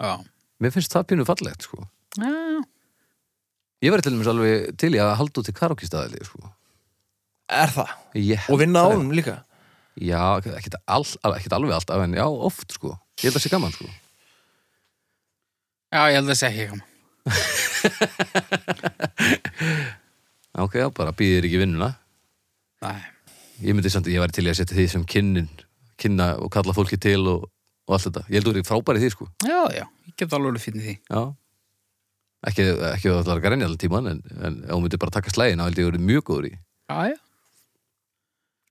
S1: já.
S3: Mér finnst það pínu fallegt, sko.
S1: Já,
S3: Ég verði til dæmis alveg til í að halda út til karaoke-staðli, sko.
S2: er það
S3: Ég,
S2: Og vinna á honum líka
S3: Já, ekkert all, al- ekkert alveg alltaf, en já, oft, sko. Ég held að sé gaman, sko.
S1: já, ég held að segja ekki koma.
S3: Já, ok, já, bara býðir ekki vinnuna.
S1: Nei.
S3: Ég myndi samt að ég væri til í að setja því sem kynnin, kynna og kalla fólki til og, og allt þetta. Ég held að þú eru frábæri því, sko.
S1: Já, já, ég get alveg verið fínni því.
S3: Já Ekki, ekki að það er að reynja allan tíman en, en ef hún myndi bara taka slægin þá held ég að verið mjög góður í
S1: Já, já.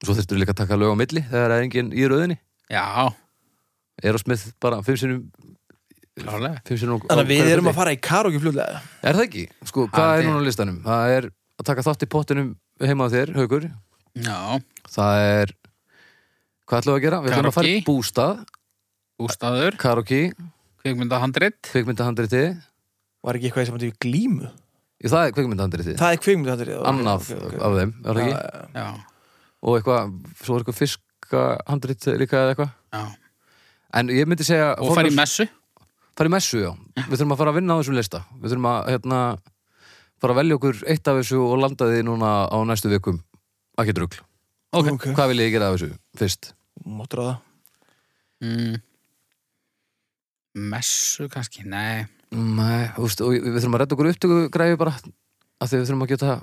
S3: Svo þurftur líka að taka lög á milli þegar það er engin í rauðinni
S1: Já,
S3: Erosmith bara fimm sinnum,
S1: klálega.
S3: fimm sinnum
S2: Þannig að við erum að fara í karaoke fljóðlega
S3: Er það ekki? Sko,
S1: Ah,
S3: hvað er
S1: þið-
S3: núna á listanum? Það er að taka þátt í pottinum heima á þér, haukur
S1: Já,
S3: Það er Hvað ætlum við að gera? Við ætlum að fara í
S1: Karaoke.
S3: bústað,
S1: bústaður,
S3: karaoke,
S1: kvikmyndahandrit.
S3: kvikmyndahandriti
S2: Var ekki eitthvað sem hætti við glímu?
S3: Jú, það er kvikmyndahandriti
S2: Það er kvikmyndahandrið ok,
S3: Annað
S2: ok, ok.
S3: af þeim, er það ekki?
S2: Já,
S1: Já,
S3: Og eitthvað, svo er eitthvað fiskahandrit líka eða eitthvað
S1: já.
S3: En ég myndi segja
S1: Og fara í messu.
S3: fara í messu, já. Við þurfum að fara að vinna á þessum lista. Við þurfum að hérna, fara að velja okkur eitt af þessu og landa því núna á næstu vikum. Ekki drugl.
S1: Ok.
S2: ok.
S3: Hvað vil ég gera af þessu fyrst?
S2: Máttur á það
S1: Mm. Messu kannski, nei.
S3: Nei, þú veist, og við þurfum að redda okkur upptöku græfi bara af því við þurfum að geta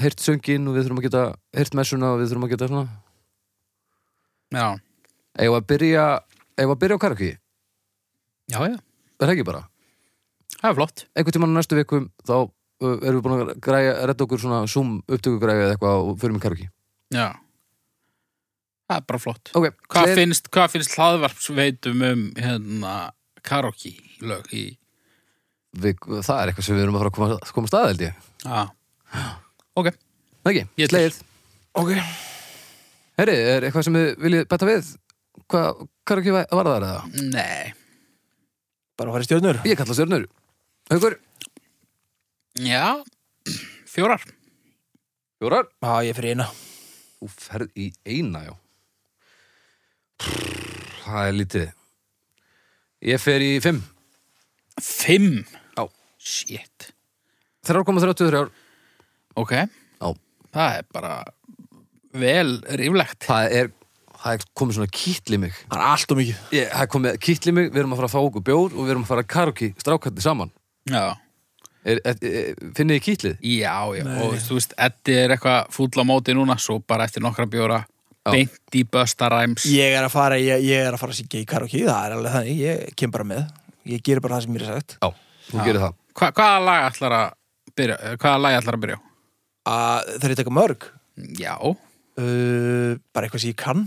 S3: heyrt söngin og við þurfum að geta heyrt messuna og við þurfum að geta svona.
S1: Já,
S3: Eða að byrja, eða að byrja á karaoke,
S1: já, já.
S3: er það ekki bara?
S1: Það er flott.
S3: Einhvern tímann á næstu vikum þá uh, erum við búin að græja, redda okkur svona zoom upptöku eða eitthvað og förum í karaoke.
S1: Já. Það er bara flott.
S3: Ok,
S1: Hvað
S3: gleð-
S1: finnst, hvað finnst hlaðvarpsveitum um hérna karaoke lög í
S3: við, það er eitthvað sem við erum að fara að koma, koma stað held ég
S1: Já, ok
S3: Það ekki,
S1: Ég er til.
S3: slegið
S2: Ok,
S3: Herri, er eitthvað sem við viljið bæta við? Hvað, hvað er ekki var það eða?
S1: Nei,
S2: bara að fara í stjórnur
S3: Ég kalla stjörnur Haukur,
S1: já, fjórar
S3: fjórar
S2: Já, ég fyrir eina
S3: Þú ferð í eina, já Prr, Það er lítið Ég fer í 5
S1: Fimm
S3: Já.
S1: Shit
S3: 3,33
S1: Ok,
S3: Já.
S1: það er bara vel ríflegt
S3: Það er, það er komið svona kýtli mig
S2: Það er allt og mikið
S3: ég, Það er komið kýtli mig, við erum að fara að fá okkur bjór og við erum að fara að karaoke, strákarnir saman
S1: Já,
S3: er, er, er, Finnið þið kýtlið?
S1: já, já. og þú veist, Eddi er eitthvað fúll á móti núna svo bara eftir nokkra bjóra beint í Busta Rhymes
S2: Ég er að fara, ég, ég er að fara að syngja í karaoke, það er alveg þannig, ég kem bara með. Ég gerir bara það sem mér er sagt.
S3: Já, þú gerir það
S1: Hva, Hvaða lag ætlar að byrja? eh, Hvaða lag ætlar að byrja? á?
S2: Að það er að taka mörg,
S1: Já,
S2: uh, bara eitthvað sem ég kann.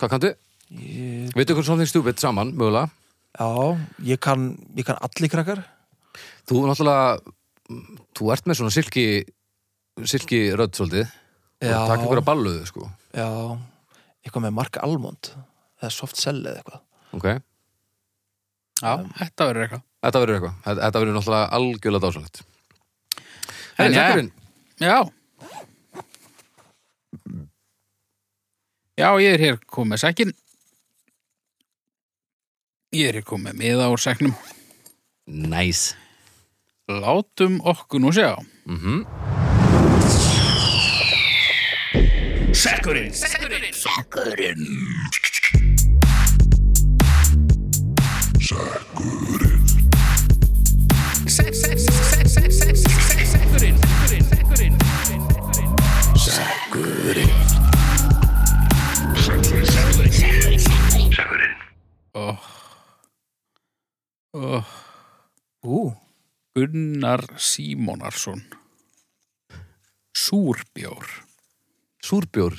S3: Hvað kanntu? Ég... Veitu hvernig something stupid saman, mögulega
S2: Já, ég kann, ég kann allir krakkar.
S3: Þú náttúrulega, þú ert með svona silki silki rödd svolítið
S2: Já.
S3: og takk ykkur að balluðu, sko
S2: Já, eitthvað með Mark Almond, eða Soft Cell eða eitthvað.
S3: Ok,
S1: já þetta verður eitthvað
S3: þetta verður eitthvað Þetta- Þetta verður náttúrulega algjörlega dásalegt
S1: En
S3: Herri,
S1: já.
S3: takkurinn,
S1: Já Já, ég er hér komið sækin Ég er hér komið miða úr sæknum
S3: næs
S1: Látum okkur nú sjá oh. Oh.
S2: Ú,
S1: Gunnar Símonarsson Súrbjór
S3: Súrbjór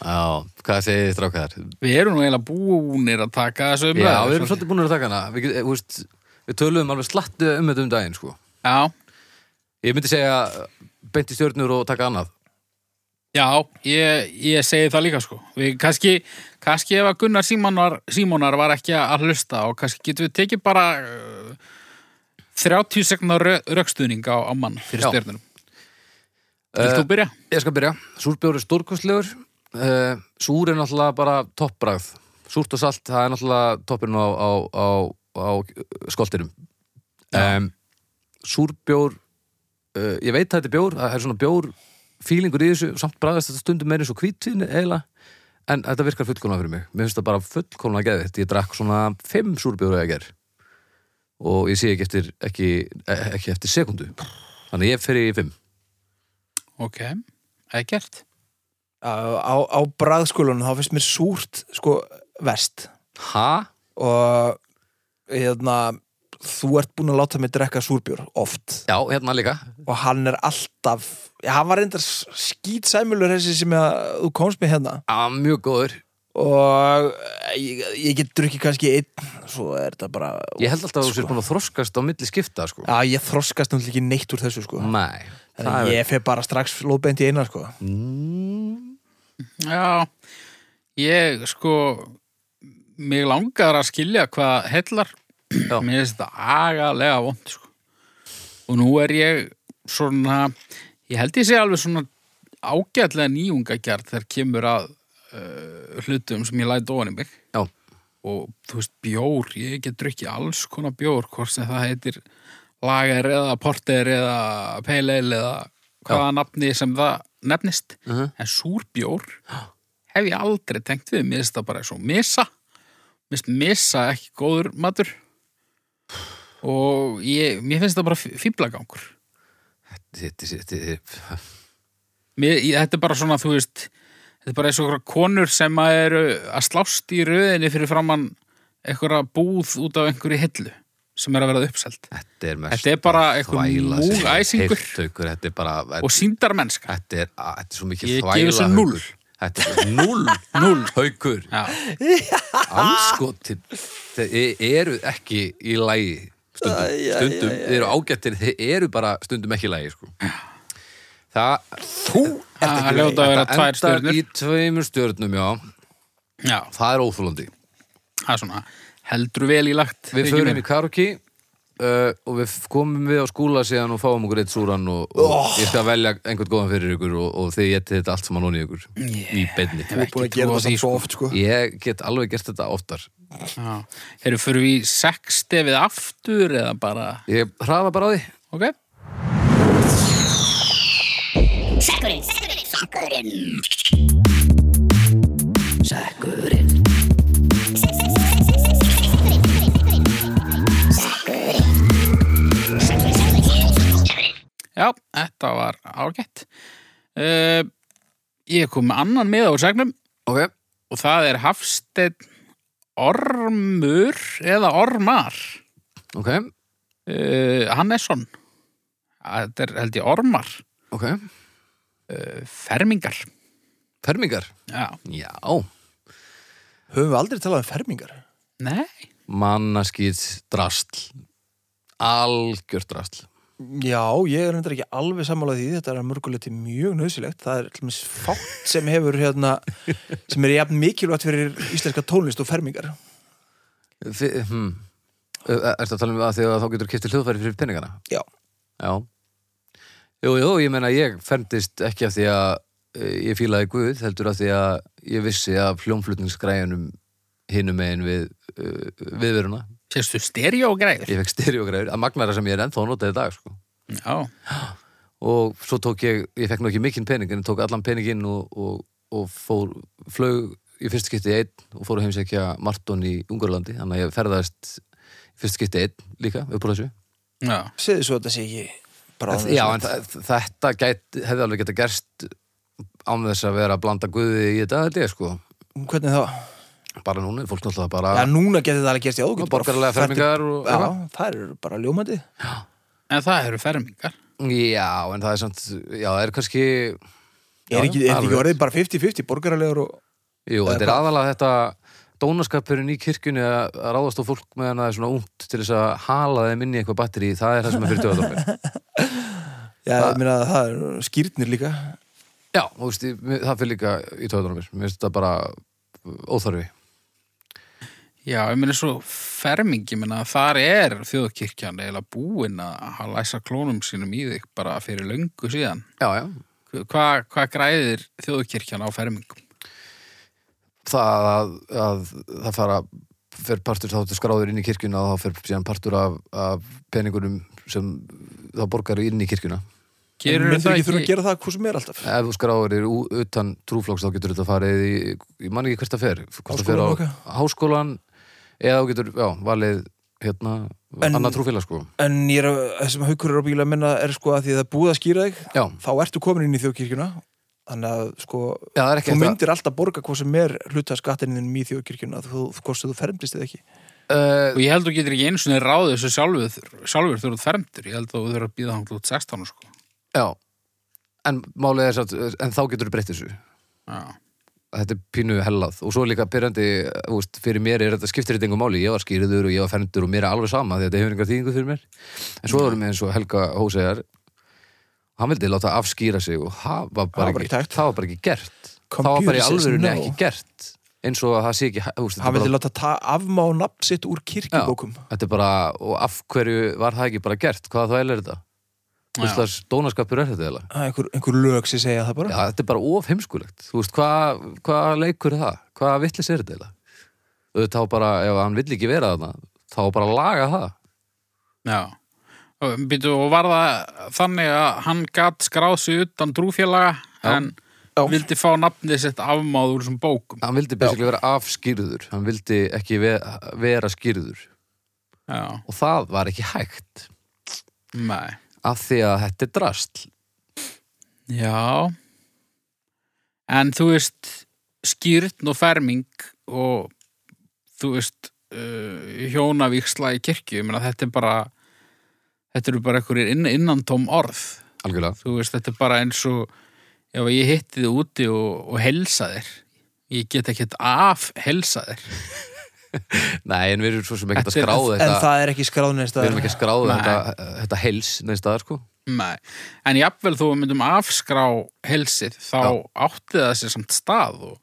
S3: Já, hvað segir þið strákar?
S1: Við erum nú eiginlega búnir að taka þessu
S3: Já,
S1: umræðu
S3: við erum svolítið búin að taka hana Við, get- eh, þú veist, við töluðum alveg slattu um þetta um daginn sko.
S1: Já,
S3: Ég myndi segja beinti stjörnur og taka annað
S1: Já, ég, ég segi það líka sko. Við kannski, kannski ef að Gunnar Símonar, Símonar var ekki að hlusta og kannski getum við tekið bara uh, 30 sekundar rökstuðning á, á mann fyrir
S3: Já. Eh,
S1: stjörnunum. Vilt þú byrja?
S3: Ég skal byrja, súrbjór er stórkostlegur uh, Súr er náttúrulega bara toppbragð Súrt og salt, það er náttúrulega toppurinn á, á, á, á skoltinum um, Súrbjór uh, Ég veit að þetta er bjór, það er svona bjór fílingur í þessu, samt bragðast þetta stundum meira eins og hvítvín eiginlega En þetta virkar fullkomlega fyrir mig, mér finnst það bara fullkomlega geðið Ég drakk svona fimm súrbjóra ég ger Og ég sé ekki eftir, ekki, ekki eftir sekundu Þannig að ég fer í fimm
S1: Ok, ekkert.
S2: á, á, á bræðskólanum þá finnst mér súrt, sko, vest.
S3: Ha?
S2: Og, hérna, þú ert búin að láta mig drekka súrbjör oft.
S3: Já, hérna líka
S2: og hann er alltaf já, hann var reyndar skýtsæmulur þessi sem að, þú komst með hérna
S3: Já, mjög góður
S2: og ég, ég get drukkið kannski einn svo er þetta bara
S3: Ég held alltaf að þú sér búin að þroskast á milli skipta sko.
S2: já, ég þroskast náttúrulega ekki neitt úr þessu sko
S3: Nei
S2: Þannig að ég fer bara strax lóðbeint í eina sko
S1: Já, ég sko, mig langar að skilja hvað hellar.
S3: Já.
S1: Mér finnst þetta agalega vond sko. Og nú er ég svona, ég held ég sé alveg svona ágætlega nýjungagjart þegar kemur að uh, hlutum sem ég læt ofan í mig
S3: Já,
S1: og þú veist bjór, ég get drukkið alls konar bjór, hvort sem það heitir lager eða porter eða peileil eða hvaða nafni sem það nefnist
S3: Mhm.
S1: en súrbjór hef ég aldrei tengt við, mér finnst það bara svo misa, mér finnst misa ekki góður matur og ég, mér finnst það bara fýblagangur
S3: þetta er
S1: Mér, ég, þetta er bara svona, þú veist þetta er bara eins og einhverja konur sem að eru að slást í röðinni fyrir framann einhverja búð út af einhverju hillu sem er að verða uppselt
S3: Þetta er mest
S1: Þetta er bara einhver
S3: þvæla sem ég hef
S1: múgæsingur.
S3: heyrt, Haukur. Þetta er bara
S1: og síndar mennska
S3: Þetta er, að, þetta er svo mikið
S1: Ég
S3: þvæla
S1: gef þessu
S3: Haukur.
S1: núll.
S3: Þetta er null, null haukur
S1: Já,
S3: Anskotin Þeir e, eru ekki í lægi stundum, stundum þeir eru ágættir þeir eru bara stundum ekki í lægi sko. Það Þú
S1: það er ljóta að vera tvær stjörnur
S3: í tveimur stjörnum, já
S1: Já,
S3: Það er óþólandi
S1: það er svona heldur vel í lagt
S3: Við förum í karaoke uh, og við komum við á skúla síðan og fáum okkur eitt súran og, og ég skal velja einhvern góðan fyrir ykkur og, og þið getið þetta allt saman onni ykkur í beinni
S2: Þú er búin að
S1: ekki trú
S2: gera
S1: á
S2: það
S1: því,
S2: samt svo oft sko
S3: Ég get alveg gert þetta oftar
S1: Eru, förum við í sex stefið aftur eða bara,
S3: Ég hraða bara á því
S1: ok?
S4: Sækurinn Sækurinn Sækurinn Sækurinn
S1: Já, þetta var ágætt Uh, ég kom með annan miða úr segnum
S3: Ok,
S1: og það er Hafsteinn Ormur eða Ormar
S3: ok,
S1: uh, Hannesson þetta er held ég Ormar
S3: ok
S1: uh, Fermingar
S3: Fermingar,
S1: Já.
S3: já
S2: Höfum við aldrei talað um fermingar?
S1: Nei,
S3: Mannaskýt drastl Algjör drastl
S2: Já, ég er hendur ekki alveg sammálað því þetta er að mörguleiti mjög nöðsilegt það er allmest fátt sem hefur hérna, sem er jafn mikilvægt fyrir íslenska tónlist og fermingar
S3: Fi, hm. Er þetta að tala um að því að þá getur kiptið hljóðfæri fyrir peningana?
S2: Já,
S3: Já Jú, jú, ég meina ég fermdist ekki af því að e, ég fílaði Guð, heldur af því að ég vissi að hljónflutningsgræjunum hinum megin við uh, viðveruna.
S1: sérstu stereogræður
S3: Ég fekk styrjógræjur, að magnara sem ég er ennþá að nota í dag, sko.
S1: Já,
S3: Og svo tók ég, ég fekk nú ekki mikinn pening, en ég tók allan peninginn og, og, og fór, flög í fyrst skipti einn og fór að heimsækja Marton í Ungarlandi, þannig að ég ferðaðist í fyrst skipti einn líka, upp úr þessu.
S1: já,
S2: segðu svo að þetta sé ekki bráðum
S3: Já, en þa- þetta gæt, hefði alveg geta gerst án þess að vera að blanda guði í þetta held ég, sko.
S2: Hvernig þá?
S3: Bara núna, fólk náttúrulega bara
S2: Já, núna getur það alveg gerst í áður getur bara
S3: borgaralega
S2: fært í-
S3: fermingar og
S2: Já,
S3: eitthvað.
S2: það eru bara ljómandi
S1: en það eru fermingar
S3: Já, en það er samt, já, það er kannski
S2: Er ekki, er ekki
S3: alveg.
S2: orðið bara 50-50 borgaralegur og
S3: Jú, þetta er
S2: hvað?
S3: aðalega þetta dónaskapurinn í kirkjunni að að ráðast á fólk meðan það er svona ungt til þess að hala þeim inn í eitthvað batteri, það er það sem er fyrir döðadómi.
S2: Já, ég meina að það eru skýrnir líka
S3: Já, og veist, ég- mér- það fyrir líka í döðadómi, mér finnst þetta bara óþarfi.
S1: Já, ég meina svo fermingi meina, þar er þjóðkirkjan eiginlega búin að að læsa klónum sínum í þig bara fyrir löngu síðan
S3: Já, já,
S1: Hva- Hvað hva græðir þjóðkirkjan á fermingum?
S3: það að, að það fara fer partur þá til skráður inn í kirkjuna og þá fer síðan partur af, af peningunum sem þá borgar inn í kirkjuna
S2: En
S1: Gerur
S2: myndir
S1: það
S2: ekki þurfa að
S1: ekki
S2: gera það hvað sem er alltaf
S3: ef þú skráður er utan trúflokks þá getur þetta farið í, ég man ekki hvert það fer hvort það fer á
S2: Háskólann okkar?
S3: háskólan eða þú getur, já, valið hérna,
S2: En-
S3: annað trúfélag sko
S2: En ég er að, það sem haukur er á bíla að minna er sko að því að það er búið að skýra þig
S3: já,
S2: þá ertu komin inn í þjóðkirkjuna þannig að sko
S3: já það er ekki
S2: þú
S3: hægt að-
S2: myndir alltaf borga hvað sem er hluta skattinninn í þjóðkirkjuna þú, hvort sem þú fermdist eða ekki
S1: Og
S3: Eh,
S1: ég held þú getur ekki einu svona ráðið þessu sjálfur, sjálfur þegar þú ert fermdur. Ég held þú þurfur að býða hann til þú ert 16 sko.
S3: já, en málið er satt, en þá getur þú breytt þessu
S1: Já.
S3: þetta er pínu hellað og svo er líka pyrrandi, úst, fyrir mér er þetta skiptir þetta engum máli, ég var skýriður og ég var fendur og mér er alveg sama því að þetta hefur engar þýðingu fyrir mér en svo erum við eins og Helga Hósegar hann vildi láta afskýra sig og það var
S2: var
S3: bara,
S2: bara
S3: ekki,
S2: ekki hægt.
S3: það var bara ekki gert það var
S2: Computer
S3: bara í
S2: says
S3: alvörunni
S2: no.
S3: ekki gert eins og að það sé ekki hæ- úst,
S2: hann
S3: þetta,
S2: vildi
S3: bara,
S2: láta ta- afmá nafn sitt úr kirkjubókum
S3: þetta er bara, og af hverju var það ekki bara gert, hvaða þvæl er þetta
S1: Já.
S3: hvers slags dónaskapur er þetta eiginlega?
S2: Það er einhver, einhver lög sem segja það bara
S3: Já, þetta er bara of heimskulegt Þú veist, hvað hva leikur er það? Hvað villis er þetta eiginlega? Auðvitað á bara, ef hann vill ekki vera þarna þá á bara að laga það
S1: Já. Og, býtu, og var það þannig að hann gatt skráð sig utan trúfélaga en
S2: Já.
S1: vildi fá nafnið sitt afmáð úr þessum bókum.
S3: Hann vildi basically vera afskýrður Hann vildi ekki ve vera skýrður
S1: Já.
S3: og það var ekki hægt
S1: Nei.
S3: af því að þetta er drastl
S1: Já. En þú veist, skýrtn og ferming og þú veist, uh, hjónavíksla í kirkju, ég meina þetta er bara, þetta eru bara einhverjir inn, innantóm orð.
S3: Algjörlega
S1: þú veist, þetta er bara eins og ef ég hitti þið úti og, og helsa þér ég get ekkert af helsa þér
S3: Nei, en við erum svo sem ekki að
S1: Þetta er-
S3: skráða
S2: en
S3: þetta
S2: það er ekki skráð neins
S3: Við
S2: staðar.
S3: erum ekki að skráða
S1: Nei.
S3: þetta, þetta heils neins staðar sko
S1: Nei. en jafnvel þú myndum afskrá helsið þá
S3: Já.
S1: átti það sér samt stað og,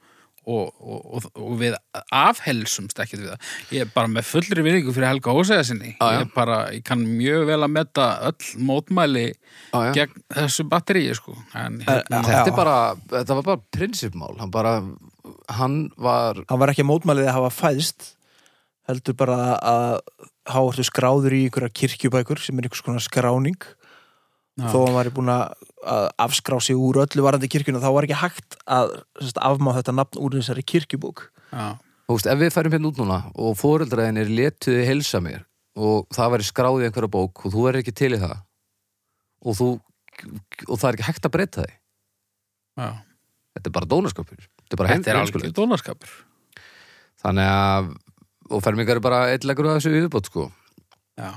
S1: og, og, og, og við afhelsumst ekkert við það ég er bara með fullri virðingu fyrir Helga Ósega sinni
S3: Já, já.
S1: ég, er bara, ég kann mjög vel að metta öll mótmæli
S3: Já, já.
S1: gegn þessu batteríi sko. en,
S2: En-
S1: hérna,
S3: Þetta,
S2: Já.
S3: er bara, þetta var bara prinsipmál Hann bara, hann var
S2: hann var ekki að mótmælið að hafa fæðst heldur bara að hafa ertu skráður í einhverja kirkjubækur sem er einhvers konar skráning
S1: Já.
S2: þó hann var búin að að afskrá sig úr öllu varandi kirkjuna þá var ekki hægt að sérst, afmá þetta nafn úr þessari kirkjubók
S1: já,
S3: Þú veist, ef við færum hérna út núna og foreldraðinir letuði helsa mér og það væri skráð í einhverja bók og þú verður ekki til í það og þú og það er ekki hægt að breyta því
S1: já.
S3: þetta er bara dónaskapur þetta er bara
S1: Þetta er
S3: heimskulegt.
S1: algjör dólarskapur
S3: þannig að og fermingar er bara eitthvað af þessu yfirbót sko.
S1: Já,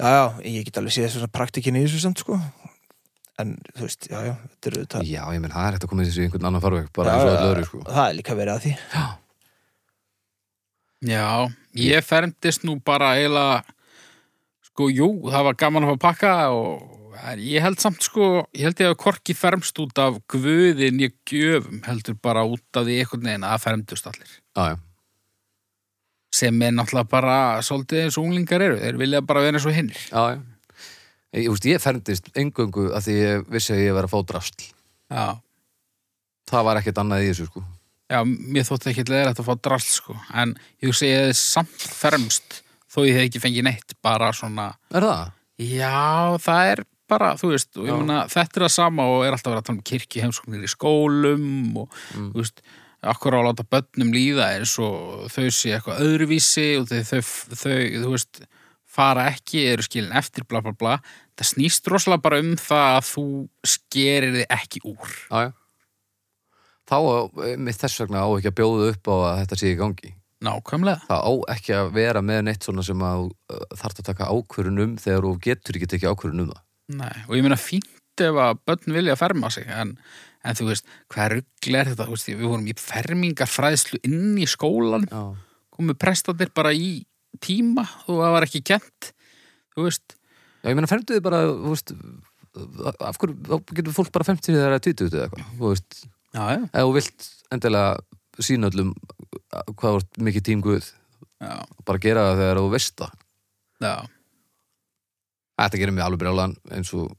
S2: Já, já, ég get alveg séð þess að praktikin í þessu samt sko En þú veist, já, já, þetta er auðvitað
S3: já, ég menn, það er hægt að koma þessu í einhvern annan farveg
S2: Já,
S3: bara eins og
S2: já,
S3: öllu öðru sko.
S2: Það er líka verið að því
S1: já ég fermdist nú bara eiginlega sko, jú, það var gaman að fá að pakka og en ég held samt sko ég held ég að korki fermst út af guðin ég gjöfum, heldur bara út af því einhvern veginn að það fermdust allir
S3: já, já,
S1: sem er náttúrulega bara svolítið eins og unglingar eru, þeir vilja bara vera eins og hinnir
S3: já, já. Ég, ég, ég fermdist engöngu að því ég vissi að ég var að fá drasl
S1: Já,
S3: það var ekkert annað í þessu sko.
S1: já, mér þótti ekki leðilegt að fá drall sko, en ég hugsa ég hefði samt fermst þó ég hef ekki fengið neitt, bara svona
S3: er það?
S1: Já, það er bara, þú veist, og
S3: Já.
S1: ég meina, þetta er það sama og er alltaf að vera að tala um kirkju heimsóknir í skólum og, þú veist, akkur á að láta börnum líða eins og þau sé eitthvað öðruvísi og þau, þau, þau þú veist, fara ekki, eru skilin eftir, bla, bla, bla. Það snýst rosalega bara um það að þú skerir þið ekki úr.
S3: Já, já. þá eh, með þess vegna á ekki að bjóða upp á að þetta sé í gangi
S1: Nákvæmlega.
S3: það á ekki að vera með neitt svona sem að uh, þarf að taka ákvörun um þegar þú getur ekki tekið ákvörun um það
S1: Nei, og ég meina fínt ef að börn vilja að ferma sig, en, en þú veist, hvað rugl er þetta, þú veist, við vorum í fermingarfræðslu inn í skólanum
S3: já,
S1: komu prestatir bara í tíma og það var ekki kent þú veist,
S3: já ég meina fermdu þið bara þú veist, af hverju, þá getur fólk bara fermt því þegar það er tvítugt eða eitthvað þú veist,
S1: já, já,
S3: ef þú vilt endilega sína öllum eh, hvað þú ert mikið tímguð
S1: já,
S3: bara gera það þegar þú veist það
S1: já.
S3: þetta gerir mig alveg brjálan eins og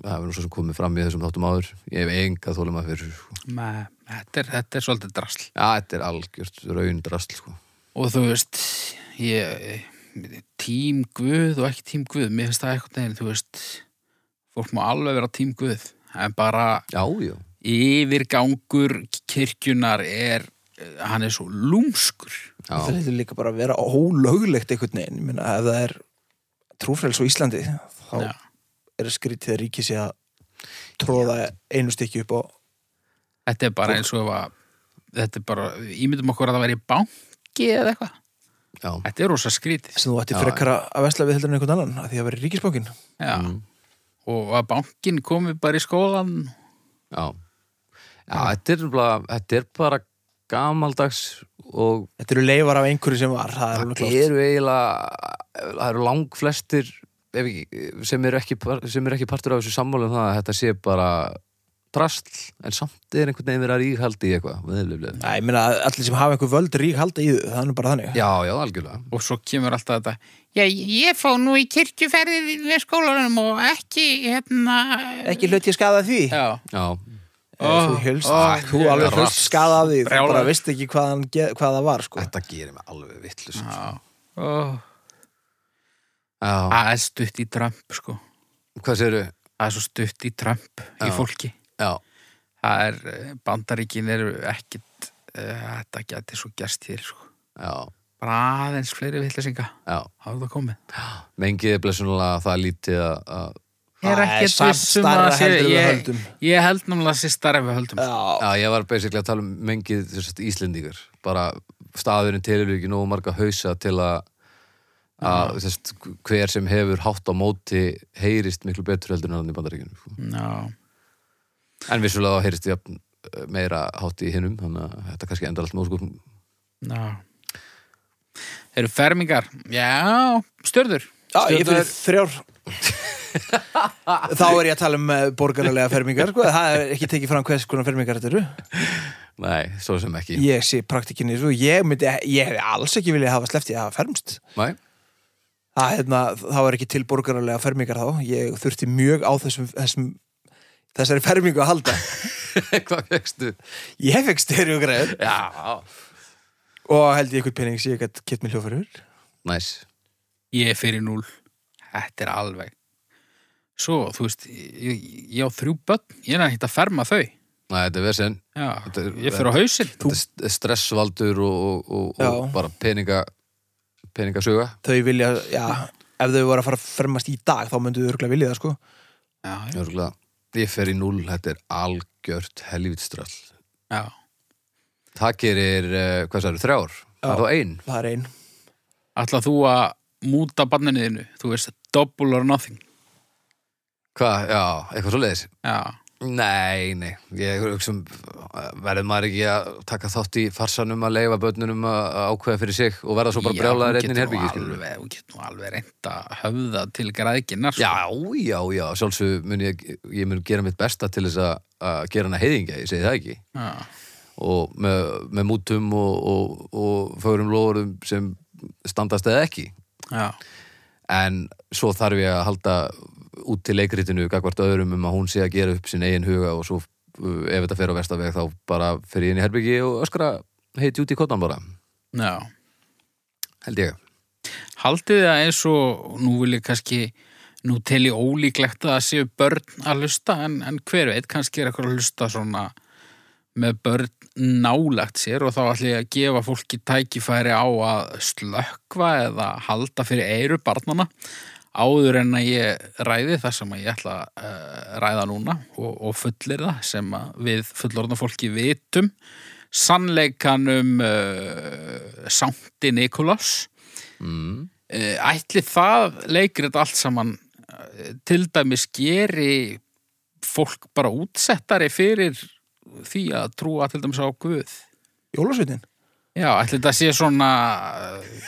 S3: það er nú svo sem komið fram í þessum þáttum áður ég hef enga þólum að fyrir þessu, sko.
S1: Með, þetta, er, þetta er svolítið drasl
S3: Já, þetta er algjört raundrasl sko.
S1: og þú veist ég, tím guð og ekki tím guð mér finnst það eitthvað neginn, þú veist fólk má alveg vera tím guð en bara
S3: Já, já,
S1: yfirgangur kirkjunar er hann er svo lúmskur
S2: Það
S3: já,
S2: er líka bara að vera ólöglegt einhvern veginn, ég meina, ef það er trúfræls á Íslandi, þá
S1: Já.
S2: er skrítið að ríki sé að tróða einu stykki upp á
S1: þetta er bara eins og ef að þetta er bara, ímyndum okkur að það væri banki eða eitthvað,
S3: já.
S1: þetta er rosa skrítið
S2: sem þú ætti
S3: Já,
S2: frekar að vesla við heldur en einhvern annan, að því að vera ríkisbókin.
S1: Já,
S2: Mm.
S1: og að bankin komi bara í skólan
S3: Já, já þetta, er bara, þetta er bara gamaldags og
S2: Þetta eru leifar af einhverju sem var, það er alveg
S3: það
S2: klátt.
S3: eru eiginlega það eru langflestir ef ekki- sem eru ekki, par- sem eru ekki partur af þessu sammálu um það að þetta sé bara drasl, en samt er einhvern veginn verið að ríkhaldi í eitthvað meðliflega.
S2: Næ, ég meina, allir sem hafa einhver völd rík halda í þau, það er nú bara þannig.
S3: Já, já, algjörlega
S1: og svo kemur alltaf þetta Já, ég fá nú í kirkjuferðið með skólanum og ekki hérna
S2: Ekki hlut ég skaða því.
S1: Já,
S3: Já,
S2: Ef Þú hélst, þú alveg hlut skaða af því, þú
S1: Brjálað.
S2: bara veist ekki hvað, hann, ge- hvað það var, sko.
S3: þetta gerir mig alveg vittlust
S1: Já. Ó,
S3: já,
S1: Það er stutt í Trump sko
S3: hvað sérðu?
S1: Það er svo stutt í Trump í
S3: Já.
S1: fólki
S3: Já,
S1: Það er, eh, bandaríkin eru ekkit eh, Þetta geti svo gerst hér sko
S3: já,
S1: Bara aðeins fleiri vitlesinga
S3: já
S1: Háðu það komið
S3: mengið er blessunulega það lítið að- að
S1: Ég er
S2: Það er
S1: ekkert
S2: samt
S1: viss um að
S2: stærra
S1: sé-
S2: heldur en við
S1: ég-
S2: höldum.
S1: Ég held náttúrulega að sé starra við höldum sko.
S2: Já,
S3: Já, ég var basically að tala um mengið sem sagt, Íslendingar, bara staðurinn telur ekki nógu marga hausa til að að sem sagt, hver sem hefur hátt á móti heyrist miklu betur heldur en hann í bandaríkjunum sko.
S1: Já,
S3: en vissulega þá heyrist jafn, eh, meira hátt í hinnum þannig að þetta kannski endar allt með úrskutum
S1: já Eru fermingar? Já, stjörður
S2: já ég fyrir þrjár. Þá er ég að tala um eh, borgaralega fermingar, sko. Það er ekki tekið fram hvers konar fermingar þetta eru.
S3: Nei, svo sem ekki
S2: Ég sé praktikinni svo, ég myndi, ég hef alls ekki viljað hafa slefti að hafa fermst.
S3: Nei,
S2: Það, hérna, það var ekki til borgaralega fermingar þá. Ég þurfti mjög á þessum, þessum þessari fermingu að halda.
S3: hvað fegstu?
S2: Ég fekk styrjugræður
S3: Já,
S2: og held ég eitthvað pening sem ég gætt kett mér hljófarur.
S3: næs
S1: Ég er fyrir núl Þetta er alveg Svo, þú veist, ég, ég á þrjú börn Ég er að hitta að ferma þau
S3: Nei, þetta er vesinn
S1: Já,
S3: Þetta er-
S1: ég fyrir á hausinn
S3: Þetta er st- stressvaldur og, og, og,
S2: Já.
S3: og bara peninga peningasöga
S2: Þau vilja, já, ef þau voru að fara að fermast í dag þá myndu þau örgulega vilja það sko.
S1: Já, já.
S3: Jörgulega ég fer í núll, þetta er algjört helvitströll.
S1: já,
S3: Það gerir, uh, hvað sagður, þrjár? Það er þá ein.
S2: það er ein
S1: ætlað þú að múta banninu þínu, þú veist double or nothing
S3: Hvað, já, eitthvað svo leiðis.
S1: já,
S3: Nei, nei, ég hugsa um, verður maður ekki að taka þátt í farsanum að leifa börnunum að að ákveða fyrir sig og verða svo bara
S1: Já,
S3: brjálaðar
S1: hún getur
S3: einn í
S1: nú
S3: herbyggi, skilur
S1: alveg- hún getur nú alveg reynda höfða til græðginnar sko.
S3: Já, já, já, sjálfsög mun ég, ég mun gera mitt besta til þess að- að gera hana heiðingja, ég segi það ekki.
S1: já,
S3: Og með, með mútum og, og, og förum lóðurum sem standast eða ekki.
S1: já,
S3: En svo þarf ég að halda út til leikritinu gagvart öðrum um að hún sé að gera upp sinn eigin huga og svo uh, ef þetta fer á vestaveg þá bara fer ég inn í herbyggi og öskra heiti út í kottan bara,
S1: já.
S3: held ég.
S1: Haldið þið að eins og nú vil ég kannski nú tel ég ólíklegt að það séu börn að hlusta en, en hver veit kannski er eitthvað að hlusta svona með börn nálagt sér og þá ætli ég að gefa fólki tækifæri á að slökkva eða halda fyrir eiru barnana áður en að ég ræði það sem að ég ætla að eh, ræða núna og, og fullir það sem að við fullorðna fólki vitum sannleikanum uh, Sankti Nikolás
S3: Mm.
S1: Eh, Ætli það leikrit allt saman eh, til dæmis geri fólk bara útsettari fyrir því að trúa til dæmis á Guð.
S2: Jólasveitin?
S1: Já, ætli það sé svona eh,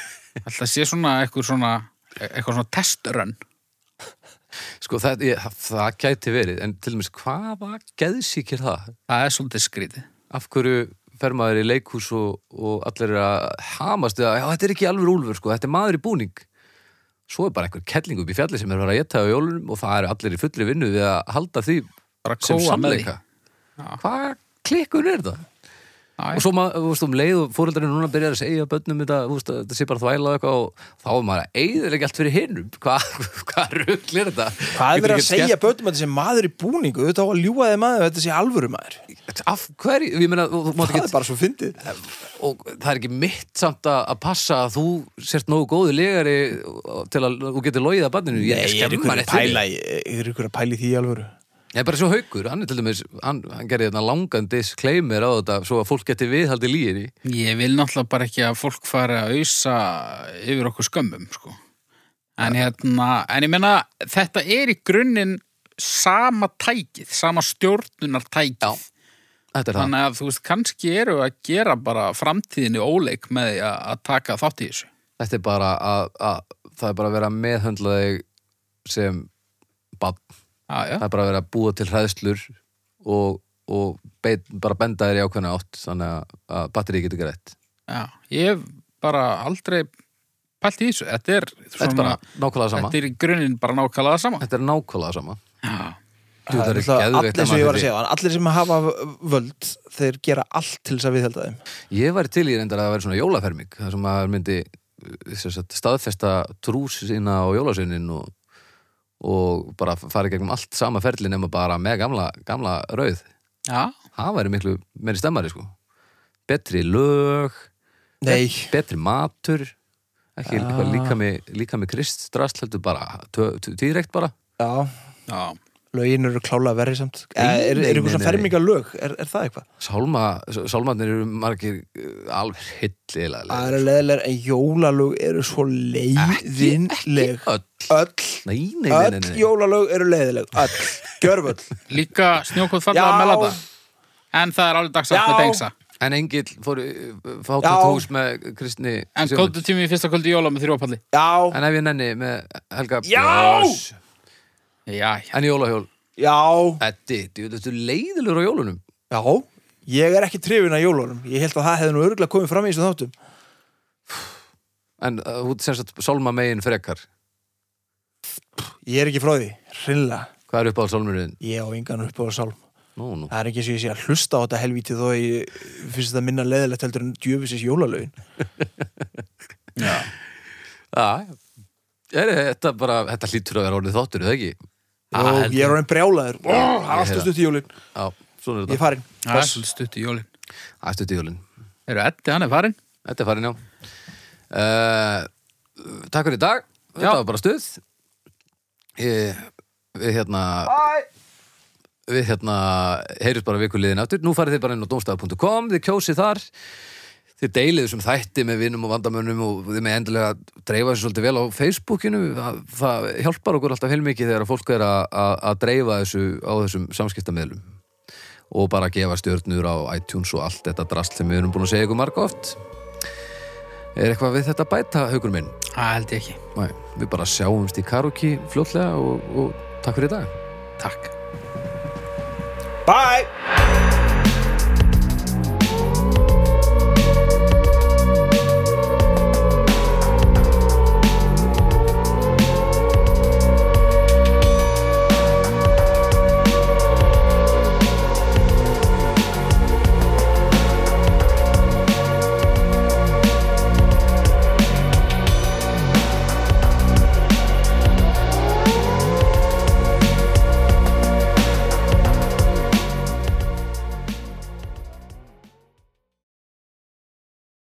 S1: ætli það sé svona eitthvað svona eh, eitthvað svona teströnn.
S3: Sko það, ég, það, það gæti verið, en til dæmis hvaða geðsíkir það?
S1: Það er svolítið skrítið.
S3: Af hverju fer maður í leikhús og, og allir eru að hamast eða, já þetta er ekki alveg úlfur sko, þetta er maður í búning. Svo er bara einhver kelling upp í fjalli sem er að vera að geta á jólunum og það eru allir í fullri vinnu við að halda því
S1: Bara
S3: sem
S1: kóa með því.
S3: sannleika hvað klikkun er það?
S1: Já,
S3: og svo maður, þú veist, um leið og fóreldarinn núna byrjar að segja bönnum þetta, þú veist, að þetta sé bara þvæla og eitthvað og þá er maður að eiðilega allt fyrir hinnum hvað hva rugl er þetta?
S2: Hvað er
S3: Getur
S2: verið að
S3: ekki
S2: segja bötum að þessi maður í búningu? Þetta á að ljúga þeim maður, þetta sé alvöru maður.
S3: skemmt- af hverju, ég meina, þú, þú mátt
S2: Það er
S3: ekki
S2: bara svo fyndið.
S3: og það er ekki mitt samt að, að passa að þú sért nógu góðu legari til að þú getur logið að banninu ég
S2: er ykkur
S3: skemmar
S2: að
S3: eftir því.
S2: pæla, í- er ykkur að pæla í því í alvöru.
S3: Ég er bara svo haukur, hann er til dæmis hann, hann gerði þarna langan disclaimer á þetta svo að fólk geti viðhaldi líginni
S1: Ég vil náttúrulega bara ekki að fólk fari að ausa yfir okkur skömmum, sko. En hérna, en ég meina, þetta er í grunninn sama tækið, sama stjórnunar tækið.
S3: Já. Þetta er það
S1: Þannig að þú veist, kannski eru að gera bara framtíðinni óleik með því að að taka þátt í þessu.
S3: þetta er bara að, að það er bara að vera að meðhöndla þig sem bann,
S1: Já, já,
S3: það er bara að vera að búa til hræðslur og, og beit, bara benda þér í ákveðna átt þannig að, að batterið getur greitt
S1: já. Ég hef bara aldrei pælt í þessu. Þetta er,
S3: þetta er bara nákvæmlega sama
S1: þetta er í grunninn bara nákvæmlega sama.
S3: þetta er nákvæmlega sama
S1: Já,
S3: Þú, það er
S2: náttúrulega
S3: geðveikt
S2: allir sem
S3: að
S2: ég
S3: maður
S2: var að segja, allir sem hafa völd, þeir gera allt til þess að viðhelda þeim.
S3: ég væri til í reyndar að það væri svona jólaferming það sem maður myndi eh, sem sagt, staðfesta trús sína á jólasveinin og, og bara fara í gegnum allt sama ferli nema bara með gamla, gamla rauð
S1: já,
S3: það væri miklu meiri stemmari sko betri lög
S2: Nei,
S3: betri matur ekki ah. líka með, líka með krist drast heldur bara, tö- tö- tíðreykt bara
S2: já,
S1: já.
S2: lögin eru klála verið samt. Eh,
S3: Nei,
S2: Er, er
S3: nei,
S2: ykkur
S3: nei,
S2: svona
S3: nei.
S2: fermingalög, er, er það eitthvað?
S3: Sálma, sálmarnir eru margir uh, alveg
S2: Það
S3: hillilega
S2: eru leðilegar en jólalög eru svo leiðinleg.
S3: öll,
S2: Öll,
S3: nei, nei, nei, nei,
S2: öll
S3: nei.
S2: jólalög eru leiðileg. Öll, gjörföll.
S1: Líka snjókóð falla að
S2: Já.
S1: melata. En það er alveg dagsagt
S2: Já.
S1: með dengsa.
S3: en engill fór uh, fátt
S2: Já.
S3: að tóks með kristni
S1: En
S3: sjónum.
S1: kóttu tími í fyrsta kvöldi jóla með þrjópalli.
S2: Já,
S3: en ef ég nenni með Helga
S2: Já.
S3: Björns.
S1: Já, já.
S3: en jólahjól,
S2: já,
S3: Eddi, þetta er leiðilegur á jólunum
S2: Já, ég er ekki trefin að jólunum Ég held að það hefði nú örgulega komið fram í þessum þáttum
S3: en uh, hún sem sagt sálma megin frekar
S2: Ég er ekki frá því, hreinlega
S3: hvað er upp á sálmurinn?
S2: Ég á engan upp á sálm
S3: Nú, nú.
S2: Það er ekki eins og ég sé að hlusta á þetta helvíti þó að ég finnst þetta minna leðilegt heldur en djöfisins jólalögin
S3: Já, er þetta bara, þetta hlýtur að vera orðið þáttur, er það ekki?
S2: Og
S1: heldur.
S2: Ah, ég er orðin brjálaður Ó, Það
S3: ég
S2: er
S3: heyra.
S2: alltaf stutt í jólin
S3: Já, svona er
S2: Ég er
S3: þetta.
S2: farin
S1: Það er svolítið stutt í jólinn.
S3: Það er stutt í jólinn.
S1: Eru Eddi, hann er farinn?
S3: Þetta er farin, já. Uh, takk fyrir í dag. Þetta var bara stuð. Ég, við hérna... Eh, við hérna heyrjum bara vikuliðin aftur, nú farið þið bara inn á domstaf.com þið kjósið þar þið deilið þessum þætti með vinnum og vandamönnum og þið með endilega dreifa þessu svolítið vel á Facebookinu, það, það hjálpar okkur alltaf heilmikið þegar fólk er að- að að dreifa þessu á þessum samskiptamiðlum og bara gefa stjörnur á iTunes og allt þetta drast sem við erum búin að segja ykkur marga oft er eitthvað við þetta að bæta, haukur minn?
S1: Það held ég ekki.
S3: Nei, við bara sjáumst í karaoke fljótlega og, og takk fyrir í dag
S1: Takk.
S2: Bye!